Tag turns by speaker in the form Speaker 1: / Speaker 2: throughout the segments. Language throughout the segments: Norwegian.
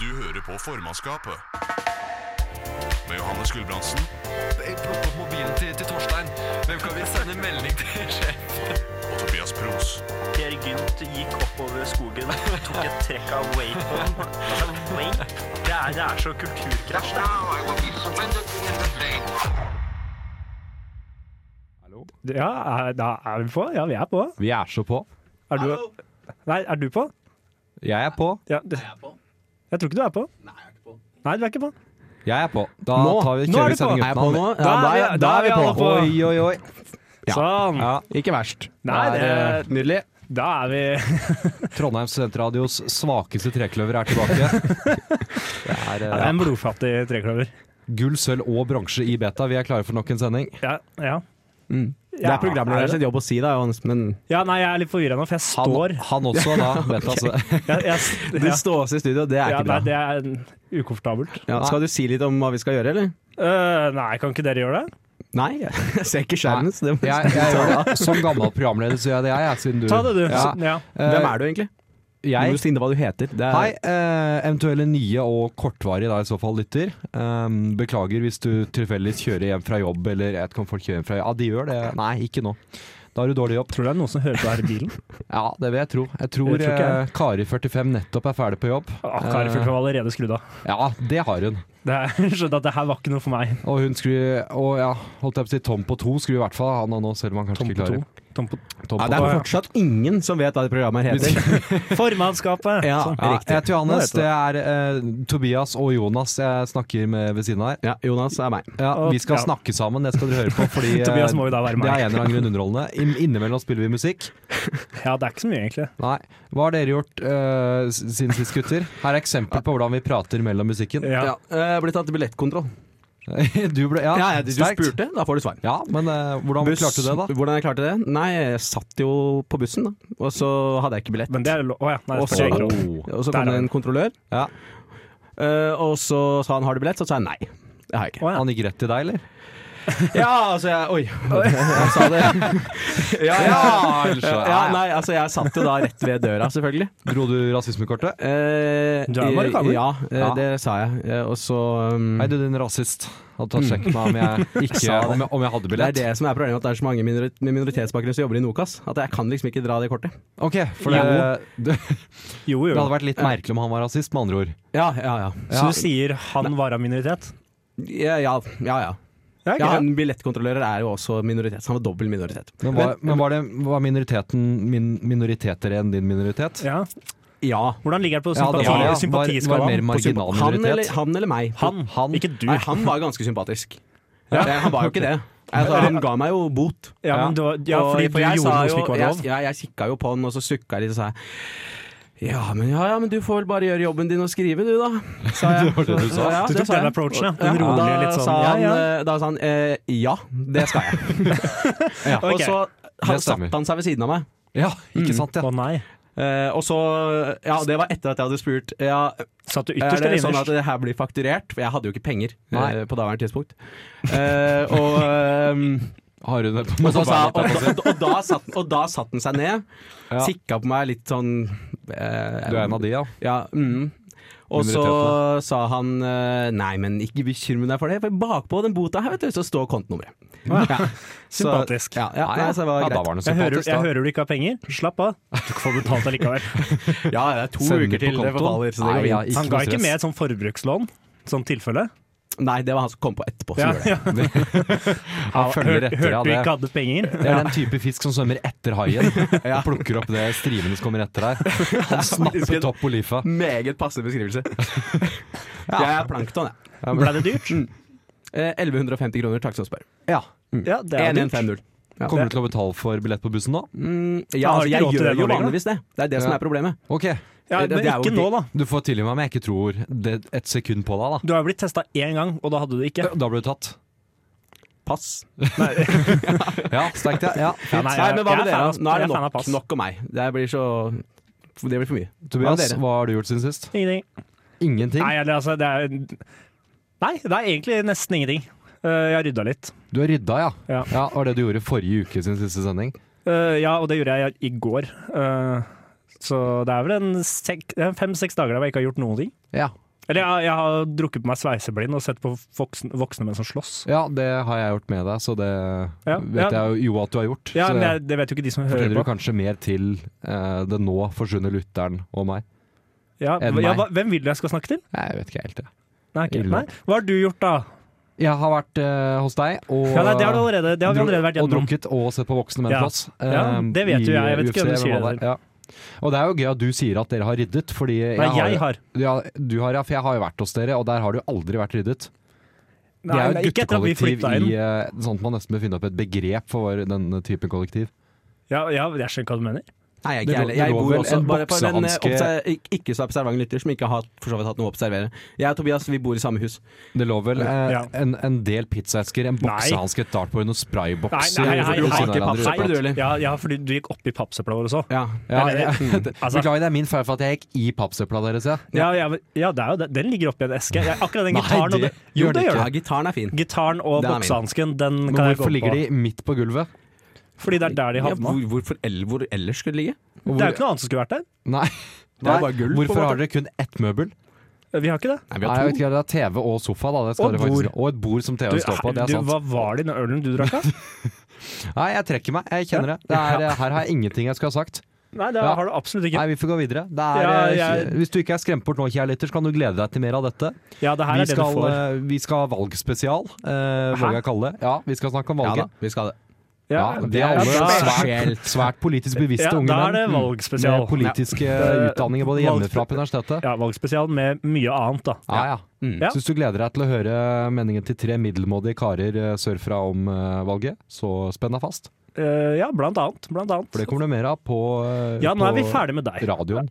Speaker 1: Du hører på formannskapet. Med Johannes Gulbrandsen
Speaker 2: Jeg plukker opp mobilen til, til Torstein. Hvem kan vi sende melding til sjef?
Speaker 1: og Tobias Pros.
Speaker 3: Per Gynt gikk oppover skogen, tok et trekk av Waypon. Altså, Wayne? Det er, det er så kulturkrasj. det.
Speaker 4: Ja, er, da er vi på. Ja, vi er på.
Speaker 5: Vi er så på.
Speaker 4: Er du, nei, er du på?
Speaker 5: Jeg er på.
Speaker 4: Ja, det, jeg tror ikke du er på. Nei, du er ikke på.
Speaker 5: Jeg er på. Da
Speaker 6: Nå.
Speaker 5: tar vi
Speaker 4: Nå er du
Speaker 5: kjører vi sending
Speaker 6: Er jeg på
Speaker 5: uten
Speaker 6: nå?
Speaker 5: han.
Speaker 6: Ja, da, er, da er vi
Speaker 4: alle
Speaker 6: på.
Speaker 4: på.
Speaker 5: Oi, oi, oi. Ja.
Speaker 4: Sånn.
Speaker 5: Ja.
Speaker 6: Ikke verst.
Speaker 4: Nei,
Speaker 5: Det er eh,
Speaker 4: det,
Speaker 5: nydelig.
Speaker 4: da er vi
Speaker 5: Trondheim Studentradios svakeste trekløver er tilbake. Det er
Speaker 4: ja, det er
Speaker 5: eh,
Speaker 4: En blodfattig trekløver.
Speaker 5: gull, sølv og bronse i beta. Vi er klare for nok en sending.
Speaker 4: Ja, ja.
Speaker 6: Det er programlederen sin jobb å si det, Johannes, men
Speaker 4: Ja, nei, jeg er litt forvirra nå, for jeg
Speaker 5: Han,
Speaker 4: står.
Speaker 5: han også, da. Beta, altså. så.
Speaker 4: Jeg, jeg,
Speaker 6: du
Speaker 4: ja.
Speaker 6: stås i studio, det er
Speaker 4: Ja,
Speaker 6: ikke
Speaker 4: nei,
Speaker 6: bra.
Speaker 4: det er ukomfortabelt.
Speaker 6: Ja, skal du si litt om hva vi skal gjøre, eller?
Speaker 4: Øh, nei, kan ikke dere gjøre det?
Speaker 6: Nei, jeg ser ikke skjermen. så det må-
Speaker 5: Jeg, jeg gjør det. Som gammel programleder så gjør jeg det, jeg. Siden du
Speaker 4: Ta det, du.
Speaker 5: Ja. eh,
Speaker 4: Ja.
Speaker 6: Hvem er du egentlig? Du må
Speaker 5: Jeg
Speaker 6: si hva du heter. Det er,
Speaker 5: Hei, eh, eventuelle nye og kortvarige da i så fall lytter. Ehm, beklager hvis du tilfeldigvis kjører hjem fra jobb, eller jeg vet ikke om folk kjører hjem fra jobb. Ja, de gjør det. Nei, ikke nå. Da har du dårlig jobb.
Speaker 4: Tror du det er noen som hører på her i bilen?
Speaker 5: Ja, det vil jeg tro. Jeg tror,
Speaker 4: Det tror ikke jeg.
Speaker 5: eh, Kari45 nettopp er ferdig på jobb.
Speaker 4: Å, Ah, Kari Fulton var allerede skrudd av.
Speaker 5: Ja, det har hun.
Speaker 4: Det er- Skjønte at det her var ikke noe for meg.
Speaker 5: Og hun skulle Og ja, holdt jeg på å si Tom på to skulle i hvert fall han og nå, selv om han kanskje
Speaker 4: Tom
Speaker 5: ikke
Speaker 4: på to.
Speaker 5: klarer
Speaker 4: Tom på
Speaker 5: Tom på
Speaker 6: ja, det
Speaker 5: to.
Speaker 6: er fortsatt ingen som vet hva det programmet her heter.
Speaker 4: Formannskapet!
Speaker 6: Ja,
Speaker 4: Sånn.
Speaker 5: Ja,
Speaker 6: riktig.
Speaker 5: jeg heter Johannes,
Speaker 4: Nå
Speaker 5: det er eh, Tobias og Jonas jeg snakker med ved siden av her.
Speaker 6: Ja, Jonas altså, er meg.
Speaker 5: Ja,
Speaker 4: Og-
Speaker 5: vi skal
Speaker 4: ja.
Speaker 5: snakke sammen, det skal dere høre på. Fordi, eh,
Speaker 4: Tobias må jo da være meg.
Speaker 5: Det er en eller annen grunn underholdende. Inn- Innimellom spiller vi musikk.
Speaker 4: Ja, det er ikke så mye, egentlig.
Speaker 5: Nei. Hva har dere gjort eh, s- siden sist, gutter? Her er eksempel på hvordan vi prater mellom musikken.
Speaker 4: Ja.
Speaker 6: Ja. eh, Blitt tatt billettkontroll.
Speaker 5: Du ble Ja,
Speaker 6: Ja, ja, du
Speaker 5: sterkt.
Speaker 6: spurte, da får du svar.
Speaker 5: Ja, men eh, hvordan
Speaker 6: Buss-
Speaker 5: klarte du det, da?
Speaker 6: Hvordan jeg klarte det? Nei, jeg satt jo på bussen, da. Og så hadde jeg ikke billett.
Speaker 4: Men det er lov Å ja. Nei,
Speaker 6: Og
Speaker 4: det spiller
Speaker 6: så-
Speaker 4: ikke rolle.
Speaker 6: Og
Speaker 4: Der
Speaker 6: så kom
Speaker 4: er
Speaker 6: det en
Speaker 4: den.
Speaker 6: kontrollør,
Speaker 5: Ja.
Speaker 6: eh, og så sa han 'har du billett?' Så sa jeg nei. Det har jeg ikke.
Speaker 4: Å, ja.
Speaker 5: Han gikk rett til deg, eller?
Speaker 6: Ja, altså jeg Oi, jeg sa det. Ja,
Speaker 5: Ja, altså, ja,
Speaker 6: ja,
Speaker 5: ja.
Speaker 6: nei, altså jeg satt jo da rett ved døra, selvfølgelig.
Speaker 5: Dro du rasismekortet?
Speaker 6: Eh,
Speaker 4: Du er jo marokkaner.
Speaker 6: Ja, eh,
Speaker 5: Ja.
Speaker 6: det sa jeg. Eh, Og så um,
Speaker 5: Hei, du din rasist. Hadde tatt sjekk med om jeg ikke
Speaker 6: Sa det.
Speaker 5: om jeg, om jeg hadde
Speaker 6: Det er
Speaker 5: billett.
Speaker 6: det som er problemet, at det er så mange minori- med minoritetsbakgrunn som jobber i Nokas. At jeg kan liksom ikke dra det kortet.
Speaker 5: Ok, for det, det,
Speaker 4: Jo, jo.
Speaker 5: det hadde vært litt merkelig om han var rasist, med andre ord.
Speaker 6: Ja, ja, ja.
Speaker 4: Så du sier han var av minoritet?
Speaker 6: Ja, ja. ja, ja.
Speaker 4: Ja,
Speaker 6: ja en billettkontrollør er jo også minoritet, så han var dobbel minoritet.
Speaker 5: Men var, men var, det, var minoriteten min, minoriteter enn din minoritet?
Speaker 4: ja.
Speaker 6: Ja.
Speaker 4: Hvordan ligger det på
Speaker 5: Ja, det var-
Speaker 4: sympati-
Speaker 5: var- var mer
Speaker 4: sympatiskalaen?
Speaker 5: marginal
Speaker 4: På sympa-
Speaker 6: Han
Speaker 5: minoritet.
Speaker 6: eller, han eller meg?
Speaker 4: Han, ikke du.
Speaker 6: Nei, han var ganske sympatisk. Nei, Han var jo ikke det. Altså, han ga meg jo bot.
Speaker 4: Ja, men det var, ja,
Speaker 6: Og-
Speaker 4: fordi
Speaker 6: for
Speaker 4: du
Speaker 6: jeg
Speaker 4: gjorde
Speaker 6: sa
Speaker 4: noe
Speaker 6: jo-
Speaker 4: som ikke var lov.
Speaker 6: Jeg, ja, jeg kikka jo på han, og så sukka jeg litt og sa ja men, ja, ja, men du får vel bare gjøre jobben din og skrive, du, da. Sa jeg.
Speaker 5: Det var det du sa.
Speaker 6: Ja,
Speaker 4: Du
Speaker 6: det
Speaker 4: tok den
Speaker 6: sa Altså, jeg.
Speaker 4: approachen, ja. Den rolige,
Speaker 6: da
Speaker 4: litt sånn
Speaker 6: Sa
Speaker 4: ja,
Speaker 6: han,
Speaker 4: ja.
Speaker 6: eh, Da sa han eh, ja, det skal jeg.
Speaker 5: Ja.
Speaker 6: Og så han,
Speaker 5: Det stemmer.
Speaker 6: satt han seg ved siden av meg.
Speaker 5: Ja, ikke sant,
Speaker 4: Å
Speaker 5: ja.
Speaker 4: nei.
Speaker 6: Eh, og så Ja, det var etter at jeg hadde spurt Ja,
Speaker 4: Satt du
Speaker 6: Er
Speaker 4: ytterst
Speaker 6: det
Speaker 4: eller
Speaker 6: sånn at
Speaker 4: innerst?
Speaker 6: det her blir fakturert? For jeg hadde jo ikke penger
Speaker 5: Nei.
Speaker 6: eh, på daværende tidspunkt. Eh, og, ehm,
Speaker 5: Har hun det på
Speaker 6: og, så sa,
Speaker 5: mobilen?
Speaker 6: og, da- og, da satt, den- og da satt den seg ned.
Speaker 5: Ja.
Speaker 6: Tikka på meg litt sånn eh,
Speaker 5: Du er en av de, ja.
Speaker 6: Ja, mm. Og så sa han eh, nei, men ikke bekymre deg for det, for bakpå den bota her vet du, så står kontonummeret. Ja. Så-
Speaker 4: Sympatisk.
Speaker 6: Ja, ja, nei, så det var
Speaker 5: ja, da
Speaker 6: greit.
Speaker 5: var den
Speaker 4: Jeg hører,
Speaker 5: sympatisk,
Speaker 4: jeg
Speaker 5: da.
Speaker 4: hører du ikke har penger. Slapp av. Du får betalt allikevel.
Speaker 6: Ja, det er to
Speaker 5: Sender
Speaker 6: uker
Speaker 5: på
Speaker 6: til det
Speaker 5: kontoen.
Speaker 6: forfaller, så det
Speaker 5: Nei,
Speaker 6: går
Speaker 5: ja,
Speaker 6: fint.
Speaker 5: Ikke
Speaker 4: Han
Speaker 5: noe
Speaker 4: ga ikke
Speaker 5: stress.
Speaker 4: med et sånt forbrukslån? Sånn tilfelle?
Speaker 6: Nei, det var han som kom på etterpå. som
Speaker 4: Ja,
Speaker 6: gjorde det.
Speaker 4: ja.
Speaker 5: Han følger etter, ja.
Speaker 4: Hørte du
Speaker 5: Det,
Speaker 4: ikke hadde penger?
Speaker 5: det er den type fisk som svømmer etter haien. Og plukker opp det strivene som kommer etter deg. Han snappet opp på livet.
Speaker 6: Meget passende beskrivelse. Jeg er plankton, jeg.
Speaker 4: Ble det dyrt?
Speaker 6: Eh, 1150 kroner, takk som spør.
Speaker 5: Ja.
Speaker 6: Mm.
Speaker 4: Ja, det er dyrt.
Speaker 6: 1150. Ja.
Speaker 5: Kommer du til å betale for billett på bussen nå?
Speaker 6: Mm,
Speaker 4: Da
Speaker 6: ja,
Speaker 4: har du ikke
Speaker 6: jeg
Speaker 4: råd til
Speaker 6: gjør
Speaker 4: det
Speaker 6: jo
Speaker 4: nå lenger,
Speaker 6: vanligvis det. Det er det
Speaker 5: Ja.
Speaker 6: som er problemet.
Speaker 5: Ok,
Speaker 4: Ja,
Speaker 6: Det- det
Speaker 4: men
Speaker 6: er jo
Speaker 4: ikke nå,
Speaker 6: dyrt.
Speaker 4: da.
Speaker 5: du får tilgi meg om jeg ikke tror det et sekund på deg,
Speaker 4: Du har jo blitt testa én gang, og da hadde du det ikke.
Speaker 5: da. Da ble du tatt.
Speaker 6: Pass.
Speaker 5: Ja, sterkt, ja. ja.
Speaker 4: Ja,
Speaker 6: Nei,
Speaker 4: nei, jeg-
Speaker 6: men hva
Speaker 4: jeg
Speaker 6: med
Speaker 4: er
Speaker 6: dere?
Speaker 4: fan av-
Speaker 6: Nå er
Speaker 4: jeg
Speaker 6: det
Speaker 4: er fan av
Speaker 6: nok,
Speaker 4: pass.
Speaker 6: nok om meg. Det blir så Det blir for mye.
Speaker 5: Tobias,
Speaker 6: Hva med dere?
Speaker 5: hva har du gjort siden sist?
Speaker 4: Ingenting.
Speaker 5: Ingenting.
Speaker 4: Nei, eller, altså, det er Nei, det er egentlig nesten ingenting. Eh, jeg rydda litt.
Speaker 5: Du har rydda, ja.
Speaker 4: Ja.
Speaker 5: Ja, Var det du gjorde forrige uke sin siste sending?
Speaker 4: Eh, ja, og det gjorde jeg i går. Eh, så det er vel en sek- eh, fem-seks dager der jeg ikke har gjort noen ting.
Speaker 5: Ja.
Speaker 4: Eller jeg, jeg har drukket på meg sveiseblind og sett på voksne, voksne menn som slåss.
Speaker 5: Ja, det har jeg gjort med deg, så det
Speaker 4: Ja,
Speaker 5: vet
Speaker 4: ja.
Speaker 5: jeg jo at du har gjort.
Speaker 4: Ja,
Speaker 5: så
Speaker 4: men
Speaker 5: det
Speaker 4: jeg, Det vet jo ikke de som hører
Speaker 5: forteller du
Speaker 4: på.
Speaker 5: kanskje mer til eh, den nå forsvunne lytteren og meg.
Speaker 4: Ja,
Speaker 5: enn
Speaker 4: ja,
Speaker 5: meg.
Speaker 4: hva, hvem vil du jeg skal snakke til?
Speaker 5: Jeg vet ikke helt, jeg.
Speaker 4: Nei, ikke,
Speaker 5: Ille.
Speaker 4: nei. Hva har du gjort, da?
Speaker 5: Jeg har vært eh, hos deg og
Speaker 4: Ja, nei, det, har du allerede, det har vi
Speaker 5: dro-
Speaker 4: allerede vært
Speaker 5: Og
Speaker 4: gjennom.
Speaker 5: drukket og sett på voksne menn
Speaker 4: Ja.
Speaker 5: slåss.
Speaker 4: Ja,
Speaker 5: eh,
Speaker 4: det vet
Speaker 5: i
Speaker 4: jo jeg. Jeg vet ikke hvem du
Speaker 5: UFC,
Speaker 4: sier
Speaker 5: hva
Speaker 4: det
Speaker 5: var. Ja. Og det er jo gøy at du sier at dere har ryddet, fordi
Speaker 4: Nei, jeg har.
Speaker 5: Ja, du har, ja, for jeg har jo vært hos dere, og der har du aldri vært ryddet.
Speaker 4: Nei,
Speaker 5: det er jo et
Speaker 4: ikke etter at vi
Speaker 5: guttekollektiv
Speaker 4: flytta inn.
Speaker 5: i eh, Sånn at man nesten bør finne opp et begrep for hva- denne typen kollektiv.
Speaker 4: Ja, ja, jeg skjønner hva du mener.
Speaker 6: Nei, jeg, er
Speaker 5: Det lå-
Speaker 6: ikke heller.
Speaker 5: det
Speaker 6: jeg
Speaker 5: lå
Speaker 6: bor
Speaker 5: vel
Speaker 6: også
Speaker 5: en
Speaker 6: bare for en eh,
Speaker 5: boksehanske-
Speaker 6: obser- ik- ikke så observant lytter som ikke har for så vidt hatt noe å observere. Jeg og Tobias vi bor i samme hus.
Speaker 5: Det lå vel eh,
Speaker 4: Ja.
Speaker 5: en, en del pizzaesker, en boksehanske, et dartboard, noen sprayboks
Speaker 4: Nei, nei, nei, nei,
Speaker 6: nei, nei, nei, Eller?
Speaker 4: Ja, ja, fordi du gikk opp i pappsøpla vår også.
Speaker 6: Ja.
Speaker 5: Ja,
Speaker 4: Nei, nei,
Speaker 5: ja.
Speaker 4: Altså-
Speaker 5: Beklager, det er min feil for at jeg gikk i pappsøpla deres. Ja.
Speaker 4: Ja, ja, men- ja det er jo det. Den ligger oppi en eske. Jeg, akkurat den
Speaker 5: Nei,
Speaker 4: gitaren og
Speaker 5: det
Speaker 4: det, Jo,
Speaker 5: gjør
Speaker 4: det
Speaker 5: den
Speaker 4: gjør
Speaker 6: ja,
Speaker 4: det.
Speaker 6: gitaren er fin.
Speaker 4: Gitaren og
Speaker 6: Det er min.
Speaker 4: boksehansken, den
Speaker 5: Men
Speaker 4: kan jeg
Speaker 5: hvorfor
Speaker 4: gå
Speaker 5: ligger
Speaker 4: på.
Speaker 5: de midt på gulvet?
Speaker 4: Fordi det er der de
Speaker 6: Ja,
Speaker 4: havna.
Speaker 6: hvor, hvorfor el, hvor ellers skulle det ligge?
Speaker 4: Det
Speaker 5: Og hvor-
Speaker 4: er jo ikke noe annet som skulle vært der.
Speaker 5: Nei.
Speaker 6: Det er
Speaker 5: Nei,
Speaker 6: bare gulv, på en
Speaker 5: Hvorfor
Speaker 6: måte.
Speaker 5: har dere kun ett møbel?
Speaker 4: Vi har ikke det.
Speaker 6: Nei,
Speaker 5: Nei,
Speaker 6: vi har
Speaker 5: jeg vet
Speaker 6: to.
Speaker 5: ikke, Det er TV og sofa, da. Det skal
Speaker 4: Og
Speaker 5: dere faktisk,
Speaker 4: bord.
Speaker 5: og et bord som
Speaker 4: Du,
Speaker 5: TV-en står på. Det er
Speaker 4: du,
Speaker 5: sant.
Speaker 4: hva var det i den ølen du drakk av?
Speaker 5: Nei, jeg trekker meg. Jeg kjenner det. det er, eh, her har jeg ingenting jeg skulle ha sagt.
Speaker 4: Nei, det
Speaker 5: Ja.
Speaker 4: har du absolutt ikke.
Speaker 5: Nei, vi får gå videre. Det er,
Speaker 4: Ja, jeg-
Speaker 5: eh, Hvis du ikke er skremt bort nå, kjære lytter, så kan du glede deg til mer av dette.
Speaker 4: Ja, det her
Speaker 5: Vi
Speaker 4: er det du
Speaker 5: skal,
Speaker 4: får.
Speaker 5: eh, vi skal ha valgspesial,
Speaker 4: Hæ?
Speaker 5: eh, våger jeg kalle det. Ja, vi skal snakke om
Speaker 6: Ja da,
Speaker 5: valget.
Speaker 6: vi skal det.
Speaker 5: Ja, det er
Speaker 4: ja,
Speaker 5: alle
Speaker 4: da-
Speaker 5: svært, svært politisk bevisste
Speaker 4: Ja,
Speaker 5: unge
Speaker 4: da er det
Speaker 5: menn.
Speaker 4: valgspesial.
Speaker 5: Med politiske
Speaker 4: Ja.
Speaker 5: utdanninger både hjemmefra og på universitetet.
Speaker 4: Ja, valgspesial med mye annet, da.
Speaker 5: Ja, ja.
Speaker 6: Mm.
Speaker 4: Ja.
Speaker 5: Syns du gleder deg til å høre meningen til tre middelmådige karer eh, sørfra om eh, valget, så spenn deg fast.
Speaker 4: Eh, ja, blant annet. Blant
Speaker 5: For det
Speaker 4: annet.
Speaker 5: kommer det mer av på, eh,
Speaker 4: Ja, nå er vi
Speaker 5: på
Speaker 4: ferdig med deg.
Speaker 5: radioen.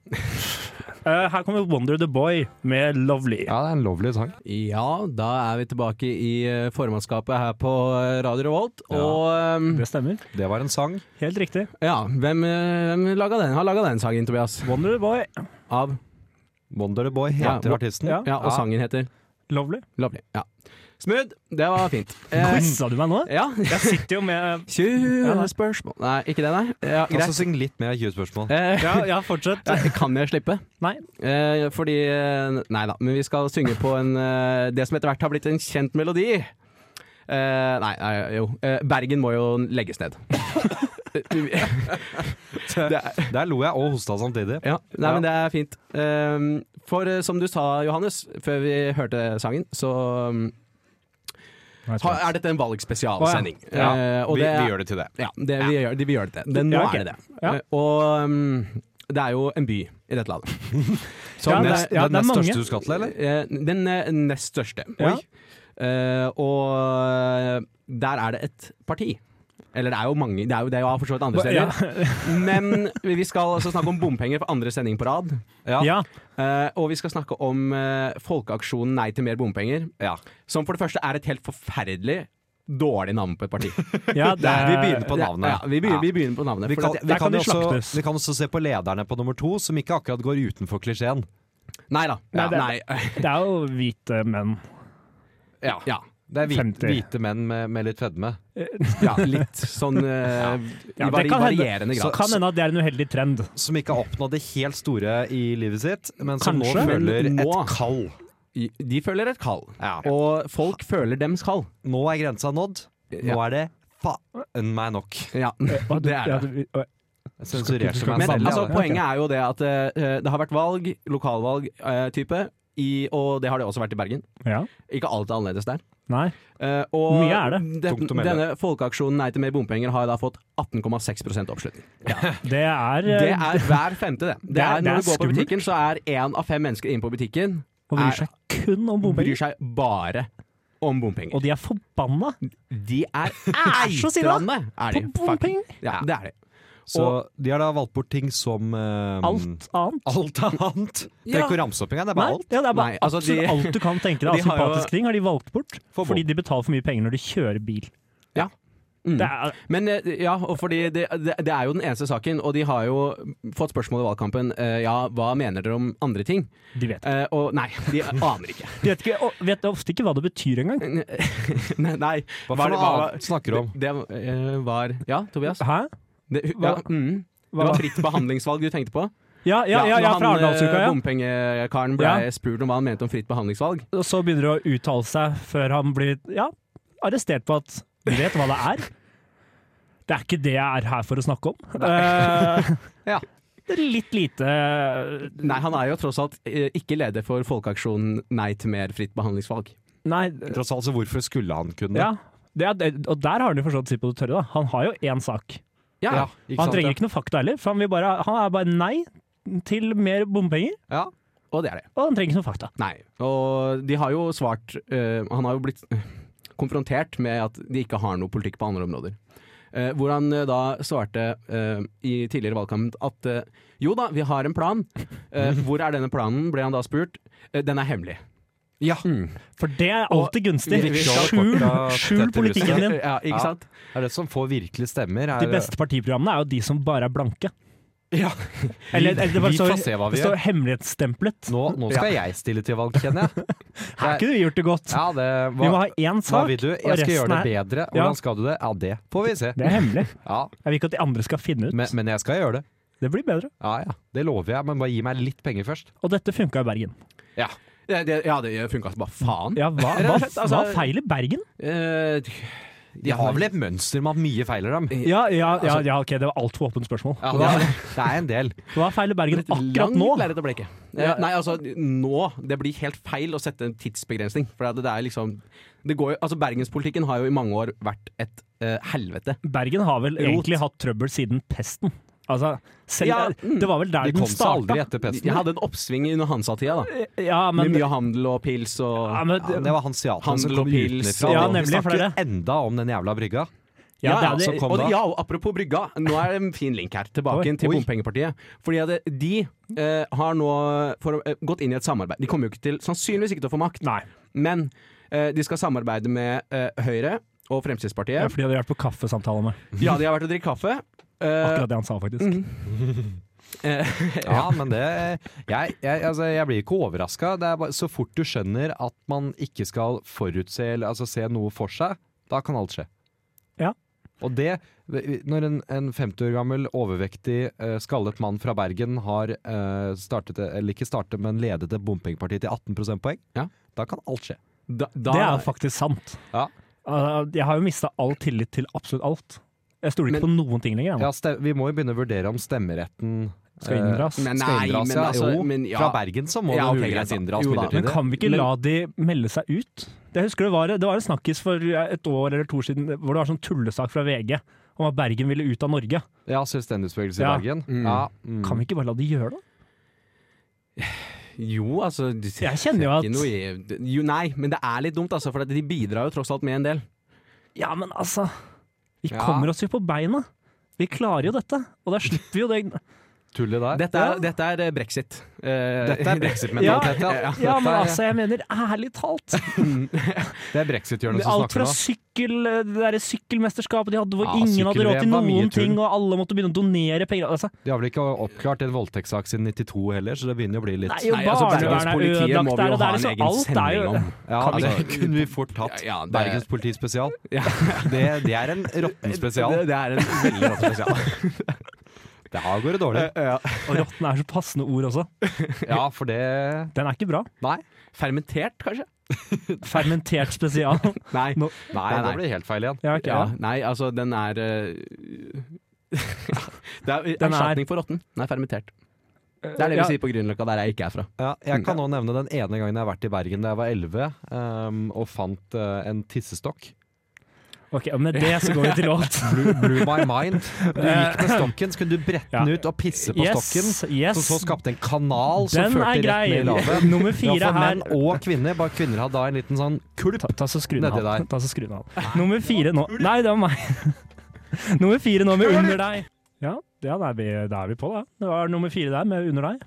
Speaker 4: Eh, her kommer Wonder the Boy med Lovely.
Speaker 5: Ja, det er en lovely sang.
Speaker 6: Ja, da er vi tilbake i eh, formannskapet her på eh, Radio Revolt.
Speaker 5: Ja.
Speaker 6: Og ehm,
Speaker 4: Det stemmer.
Speaker 5: Det var en sang.
Speaker 4: Helt riktig.
Speaker 6: ja, hvem, eh, hvem laga den? har laga den sangen, Tobias?
Speaker 4: Wonder the Boy.
Speaker 6: Av?
Speaker 5: Wonder the Boy
Speaker 6: Ja,
Speaker 5: heter
Speaker 6: hvor-
Speaker 5: artisten.
Speaker 4: ja.
Speaker 6: Ja, og sangen heter
Speaker 4: Lovely.
Speaker 6: Lovely. Ja. Smooth! Det var fint. Eh,
Speaker 4: Quiza du meg nå?
Speaker 6: ja.
Speaker 4: Jeg sitter jo med
Speaker 6: 20 spørsmål Altså Nei, ikke det, nei. Ja,
Speaker 5: Og så
Speaker 6: greit.
Speaker 5: syng litt mer 20 spørsmål.
Speaker 6: Eh,
Speaker 4: Ja, ja fortsett.
Speaker 6: Nei, Kan jeg slippe?
Speaker 4: Nei.
Speaker 6: Eh, fordi eh, Nei da, men vi skal synge på en, eh, det som etter hvert har blitt en kjent melodi. Eh, nei, nei, jo. Eh, Bergen må jo legges ned. det er,
Speaker 5: Der lo jeg og hosta samtidig.
Speaker 6: ja, nei, men det er fint. Ehm, for eh, som du sa, Johannes, før vi hørte sangen, så um, ha, er dette en valgspesialsending. Eh, og
Speaker 5: vi,
Speaker 6: det er-
Speaker 5: vi gjør det til det.
Speaker 6: ja, det, vi, gjør, det, vi gjør det til. Det, nå
Speaker 4: Ja, ok.
Speaker 6: er det det.
Speaker 4: Ja.
Speaker 6: Eh, Og um, det er jo en by i dette landet.
Speaker 4: Ja,
Speaker 6: Som
Speaker 4: det-
Speaker 6: nest-
Speaker 4: ja,
Speaker 5: den nest
Speaker 4: mange.
Speaker 5: største du skal til, eller?
Speaker 6: eh, den eh, nest største.
Speaker 4: Ja.
Speaker 6: Oi. Eh, og eh, der er det et parti. Eller det er jo mange, det er jo, det er jo for så vidt andre steder.
Speaker 4: Ja.
Speaker 6: Men vi skal altså snakke om bompenger for andre sending på rad.
Speaker 4: Ja.
Speaker 6: Eh, og vi skal snakke om eh, folkeaksjonen Nei til mer bompenger.
Speaker 5: Ja.
Speaker 6: Som for det første er et helt forferdelig dårlig navn på et parti.
Speaker 4: ja det,
Speaker 5: Der, vi begynner på navnet.
Speaker 6: Ja, vi, begynner,
Speaker 5: Ja.
Speaker 6: vi begynner på navnet.
Speaker 5: Vi
Speaker 6: for
Speaker 5: kan,
Speaker 6: at-
Speaker 5: vi,
Speaker 4: der kan
Speaker 5: kan
Speaker 4: de
Speaker 5: jo også,
Speaker 4: slaktes.
Speaker 5: vi kan også se på lederne på nummer to, som ikke akkurat går utenfor klisjeen.
Speaker 6: Nei da.
Speaker 4: Nei, det-
Speaker 6: nei.
Speaker 4: Det er jo hvite menn.
Speaker 6: Ja. Ja.
Speaker 5: Det er hvite,
Speaker 4: 50.
Speaker 5: hvite menn med, med litt fedme.
Speaker 6: litt sånn
Speaker 4: Ja,
Speaker 6: eh, i
Speaker 4: det
Speaker 6: vari
Speaker 4: kan hende.
Speaker 6: varierende grad.
Speaker 4: Kan hende at det er en uheldig trend.
Speaker 5: Som ikke har oppnådd det helt store i livet sitt, men som
Speaker 4: Kanskje,
Speaker 5: nå
Speaker 6: men
Speaker 5: føler
Speaker 6: nå-
Speaker 5: et kall.
Speaker 6: De føler et kall,
Speaker 5: Ja.
Speaker 6: og folk føler dems kall.
Speaker 5: Nå er grensa nådd. Nå
Speaker 6: Ja.
Speaker 5: er det faen meg nok.
Speaker 6: Ja, det er det.
Speaker 5: Jeg sensurerte
Speaker 4: skal-
Speaker 5: meg
Speaker 6: Men
Speaker 5: selv.
Speaker 6: altså,
Speaker 5: ja.
Speaker 6: poenget er jo det at eh, det har vært valg, lokalvalg eh, type, i, og det har det også vært i Bergen.
Speaker 4: Ja.
Speaker 6: Ikke alt er annerledes der.
Speaker 4: Nei.
Speaker 6: Eh, og
Speaker 4: Mye er det.
Speaker 6: den-
Speaker 5: Tungt å melde.
Speaker 6: denne folkeaksjonen Nei til mer bompenger har da fått 18,6 oppslutning.
Speaker 4: Det er,
Speaker 6: Det er hver femte, det. Det
Speaker 4: Eh, Det er-
Speaker 6: er,
Speaker 4: det
Speaker 6: når
Speaker 4: er
Speaker 6: du går på
Speaker 4: skummelt.
Speaker 6: butikken, så er én av fem mennesker inne på butikken
Speaker 4: Og bryr seg kun om
Speaker 6: bryr
Speaker 4: bompenger.
Speaker 6: seg bare om bompenger.
Speaker 4: Og de er forbanna
Speaker 6: Mm. De er
Speaker 4: så sinna
Speaker 6: eitrende! Er
Speaker 4: på
Speaker 6: de,
Speaker 4: bompenger!
Speaker 6: fucking. Ja, det er de.
Speaker 5: Så de har da valgt bort ting som eh,
Speaker 4: Alt annet.
Speaker 5: Alt annet. Det er
Speaker 6: Ja.
Speaker 5: ikke å ramse opp engang, det
Speaker 4: Nei,
Speaker 5: er bare alt.
Speaker 4: ja, det er bare
Speaker 6: Nei, altså, de-
Speaker 4: absolutt alt du kan tenke deg av
Speaker 6: de har jo-
Speaker 4: sympatiske ting, har de valgt bort.
Speaker 5: For
Speaker 4: Fordi de betaler for mye penger når de kjører bil.
Speaker 6: Ja. Mm.
Speaker 4: Det er,
Speaker 6: Men eh, ja, og fordi det, det, det er jo den eneste saken, og de har jo fått spørsmål i valgkampen eh, Ja, hva mener dere om andre ting?
Speaker 4: de vet,
Speaker 6: Eh, og nei, de aner ikke.
Speaker 4: de vet, ikke, og vet ofte ikke hva det betyr engang.
Speaker 6: nei, nei.
Speaker 5: Hva
Speaker 6: var
Speaker 5: for
Speaker 6: det-
Speaker 5: noe
Speaker 6: var-
Speaker 5: annet snakker du om?
Speaker 6: Det, det eh, var Ja, Tobias?
Speaker 4: Hæ?
Speaker 6: Det, ja,
Speaker 4: Hva-
Speaker 6: mm, det
Speaker 4: hva-
Speaker 6: var fritt behandlingsvalg du tenkte på?
Speaker 4: Ja, ja, ja, ja
Speaker 6: når
Speaker 4: fra
Speaker 6: han, eh,
Speaker 4: Arendalsuka, ja.
Speaker 6: Bompengekaren ble
Speaker 4: Ja.
Speaker 6: spurt om hva han mente om fritt behandlingsvalg.
Speaker 4: Og så begynner du å uttale seg før han blir ja, arrestert på at du vet hva det er. Det er ikke det jeg er her for å snakke om. Eh,
Speaker 6: Ja.
Speaker 4: det er Litt lite
Speaker 6: Nei, han er jo tross alt eh, ikke leder for folkeaksjonen Nei til mer fritt behandlingsvalg.
Speaker 4: Nei,
Speaker 5: Tross alt, så hvorfor skulle han kunne
Speaker 4: ja. Det er, og der har han jo for så vidt sitt på det tørre. da. Han har jo én sak.
Speaker 5: Ja, ikke
Speaker 4: Han
Speaker 5: sant,
Speaker 4: trenger
Speaker 5: ja.
Speaker 4: ikke noe fakta heller, for han, vil bare, han er bare nei til mer bompenger,
Speaker 6: Ja, og det er det.
Speaker 4: og han trenger ikke noe fakta.
Speaker 6: Nei. Og de har jo svart eh, Han har jo blitt konfrontert med at de ikke har noe politikk på andre områder. Eh, hvor han eh, da svarte eh, i tidligere valgkamp at eh, jo da, vi har en plan. Eh, hvor er denne planen, ble han da spurt. Eh, den er hemmelig.
Speaker 5: Ja.
Speaker 4: For det er alltid gunstig.
Speaker 6: vi- vi skal
Speaker 4: Skjul,
Speaker 5: korta
Speaker 4: skjul
Speaker 5: tette lyset.
Speaker 4: politikken din.
Speaker 6: Ja, ikke
Speaker 5: Ja.
Speaker 6: sant?
Speaker 5: Det er det som får virkelig stemmer. Er,
Speaker 4: De beste partiprogrammene er jo de som bare er blanke.
Speaker 5: Ja.
Speaker 4: Eller, eller det bare
Speaker 5: vi
Speaker 4: står-
Speaker 5: får se hva vi
Speaker 4: det står hemmelighetstemplet.
Speaker 5: Nå, nå skal jeg stille til valg, kjenner jeg.
Speaker 4: Her har ikke du gjort det godt.
Speaker 5: Ja, det,
Speaker 4: vi
Speaker 5: hva,
Speaker 4: må ha én
Speaker 5: hva
Speaker 4: sak,
Speaker 5: vil du?
Speaker 4: og
Speaker 5: Jeg skal gjøre
Speaker 4: resten
Speaker 5: det
Speaker 4: er
Speaker 5: bedre.
Speaker 4: Ja.
Speaker 5: Hvordan skal du det? Ja, det får vi se.
Speaker 4: Det er hemmelig.
Speaker 5: Ja,
Speaker 4: Jeg vil ikke at de andre skal finne ut.
Speaker 5: men, men jeg skal gjøre det.
Speaker 4: det blir bedre.
Speaker 5: Ja, ja. Det lover jeg, men bare gi meg litt penger først.
Speaker 4: Og dette funka i Bergen.
Speaker 5: Ja.
Speaker 6: Ja, det, ja, det funka som bare faen.
Speaker 4: Ja, hva, hva,
Speaker 6: Altså-
Speaker 4: hva er feil i Bergen?
Speaker 6: Eh,
Speaker 5: De har vel et mønster med at mye feiler dem.
Speaker 4: Ja, ja, ja,
Speaker 5: Altså-
Speaker 4: ja ok, det var altfor åpent spørsmål.
Speaker 5: Ja,
Speaker 4: Hva,
Speaker 5: det, det er en del.
Speaker 4: hva er feil i Bergen akkurat nå?
Speaker 6: Langt lerret å bleke. Eh, Nei, altså, nå Det blir helt feil å sette en tidsbegrensning. For at det er liksom det går jo, altså Bergenspolitikken har jo i mange år vært et eh, helvete.
Speaker 4: Bergen har vel egentlig hatt trøbbel siden pesten. Altså, selv,
Speaker 6: Ja, mm.
Speaker 4: Det var vel der
Speaker 5: De kom
Speaker 4: den
Speaker 5: seg aldri
Speaker 4: starta.
Speaker 5: etter
Speaker 6: Jeg
Speaker 5: pesten.
Speaker 6: hadde en oppsving under Hansa-tida, da.
Speaker 4: Ja, men,
Speaker 6: med mye handel og pils og
Speaker 4: ja, men,
Speaker 5: Ja, det var hanseatene som
Speaker 6: Handel og
Speaker 5: kom
Speaker 6: pils,
Speaker 5: utenfra.
Speaker 4: ja,
Speaker 5: og
Speaker 4: nemlig,
Speaker 5: Vi
Speaker 4: for
Speaker 5: snakker
Speaker 4: det er
Speaker 5: enda om den jævla
Speaker 4: ja,
Speaker 5: brygga.
Speaker 4: det
Speaker 6: ja,
Speaker 4: er
Speaker 5: altså,
Speaker 4: det-
Speaker 5: kom
Speaker 6: og,
Speaker 5: da.
Speaker 6: ja, og apropos brygga, nå er det en fin link her. Tilbake igjen til
Speaker 5: Oi.
Speaker 6: bompengepartiet. Fordi at de eh, har nå for, eh, gått inn i et samarbeid. De kommer jo ikke til, sannsynligvis ikke til å få makt,
Speaker 4: Nei.
Speaker 6: men eh, de skal samarbeide med eh, Høyre og
Speaker 4: Det er
Speaker 6: Fremskrittspartiet.
Speaker 4: fordi de hadde vært på kaffesamtale med
Speaker 6: Ja, de har vært og drikket kaffe. Eh,
Speaker 4: akkurat det han sa, faktisk.
Speaker 5: Mhm. Ja, men det Jeg, jeg, altså, jeg blir ikke overraska. Så fort du skjønner at man ikke skal forutse eller altså, se noe for seg, da kan alt skje.
Speaker 4: Ja.
Speaker 5: Og det, når en, en 50 år gammel overvektig eh, skallet mann fra Bergen har eh, startet, eller ikke startet, men ledet et bompengeparti til 18 prosentpoeng,
Speaker 6: Ja.
Speaker 5: da kan alt skje.
Speaker 6: da, da,
Speaker 4: Det er jo faktisk sant.
Speaker 5: Ja.
Speaker 4: Altså, Jeg har jo mista all tillit til absolutt alt. Jeg stoler ikke på noen ting lenger. jeg nå.
Speaker 5: Ja, ste, vi må jo begynne å vurdere om stemmeretten
Speaker 4: Skal
Speaker 5: eh,
Speaker 4: inndras.
Speaker 6: men
Speaker 5: skal
Speaker 6: nei,
Speaker 5: inndras,
Speaker 6: men
Speaker 5: ja.
Speaker 6: altså,
Speaker 5: jo,
Speaker 6: men ja.
Speaker 5: fra Bergen så må
Speaker 6: Ja, ok,
Speaker 5: det
Speaker 6: greit
Speaker 5: muligens
Speaker 6: da.
Speaker 5: inndras
Speaker 6: Jo da,
Speaker 4: Men
Speaker 5: midlertidig.
Speaker 4: kan vi ikke
Speaker 6: Men-
Speaker 4: la de melde seg ut? Jeg husker det var, det var en snakkis for eh, et år eller to år siden hvor det var sånn tullesak fra VG om at Bergen ville ut av Norge.
Speaker 5: Ja, selvstendighetsbevegelse i
Speaker 4: Ja.
Speaker 5: Bergen.
Speaker 6: Mm.
Speaker 5: Ja, mm.
Speaker 4: Kan vi ikke bare la de gjøre det?
Speaker 6: Jo, altså de-
Speaker 4: Jeg kjenner jo
Speaker 6: ikke
Speaker 4: at-
Speaker 6: noe i- jo, Nei, men det er litt dumt, altså, for at de bidrar jo tross alt med en del.
Speaker 4: Ja, men altså Vi
Speaker 5: Ja.
Speaker 4: kommer oss jo på beina. Vi klarer jo dette. Og da slipper vi jo det
Speaker 5: Tullet der.
Speaker 6: Dette er,
Speaker 4: Ja.
Speaker 6: dette er eh, brexit. Eh,
Speaker 5: Dette er brexit-mentalitet,
Speaker 4: ja,
Speaker 5: ja.
Speaker 4: ja, men
Speaker 5: Dette er-
Speaker 4: altså, jeg mener ærlig talt.
Speaker 5: Det er brexit-hjørnet som
Speaker 4: Alt
Speaker 5: snakker
Speaker 4: fra
Speaker 5: nå.
Speaker 4: sykkel, det der sykkelmesterskapet de hadde hvor
Speaker 5: Ja,
Speaker 4: ingen hadde råd til
Speaker 5: sykkelveien var mye
Speaker 4: noen
Speaker 5: tull.
Speaker 4: ting, og alle måtte begynne å donere penger. Altså,
Speaker 5: De har vel ikke oppklart en voldtektssak siden 92 heller, så det begynner å bli litt
Speaker 4: Nei, jo,
Speaker 6: Nei, altså,
Speaker 4: barnevernet er
Speaker 6: Bergens politiet må
Speaker 4: ødelagt
Speaker 6: vi jo
Speaker 4: der, og det
Speaker 6: ha
Speaker 4: er
Speaker 6: en
Speaker 4: liksom
Speaker 6: egen
Speaker 4: alt er jo
Speaker 6: sending om.
Speaker 5: ja,
Speaker 4: kan vi-
Speaker 5: altså, Kunne vi fort hatt
Speaker 6: Ja, ja, det-
Speaker 5: Bergens politispesial?
Speaker 6: Ja.
Speaker 5: Det, det er en råtten spesial.
Speaker 6: Det, det er en veldig rått spesial.
Speaker 5: Det her går det dårlig.
Speaker 4: Og rotten er så passende ord også.
Speaker 5: Ja, for det
Speaker 4: Den er ikke bra.
Speaker 5: Nei.
Speaker 6: Fermentert, kanskje?
Speaker 4: Fermentert spesial.
Speaker 6: Nei.
Speaker 4: Nå-
Speaker 5: Nei, det blir helt feil igjen.
Speaker 4: Ja, ok,
Speaker 6: ja,
Speaker 4: ja.
Speaker 6: nei, altså, den er eh, ja, Det er
Speaker 4: Den er-
Speaker 6: erstatning for råtten. Den er fermentert. Det er det vi
Speaker 4: Ja.
Speaker 6: sier på Grünerløkka, der jeg ikke er fra.
Speaker 5: Ja, jeg kan nå nevne den ene gangen jeg har vært i Bergen da jeg var 11 ehm, og fant eh, en tissestokk.
Speaker 4: Ok, og Med det så går vi til låt.
Speaker 5: Blew, blew my mind. Du gikk med stokken, så kunne du brette
Speaker 4: Ja.
Speaker 5: den ut og pisse på stokken.
Speaker 4: Yes,
Speaker 5: Som
Speaker 4: yes.
Speaker 5: så skapte en kanal som
Speaker 4: Den er
Speaker 5: førte
Speaker 4: grei.
Speaker 5: rett ned i lavet.
Speaker 4: Nummer fire
Speaker 5: ja, for
Speaker 4: her.
Speaker 5: menn og kvinner. Bare kvinner hadde da en liten sånn
Speaker 4: Ta, ta så skru den
Speaker 5: Nedi
Speaker 4: av.
Speaker 5: der.
Speaker 4: Ta så skru den av. Nummer fire nå Nei, det var meg. Nummer fire nå med Under deg. Ja, ja da, er vi, da er vi på, da. Det var nummer fire der med Under deg.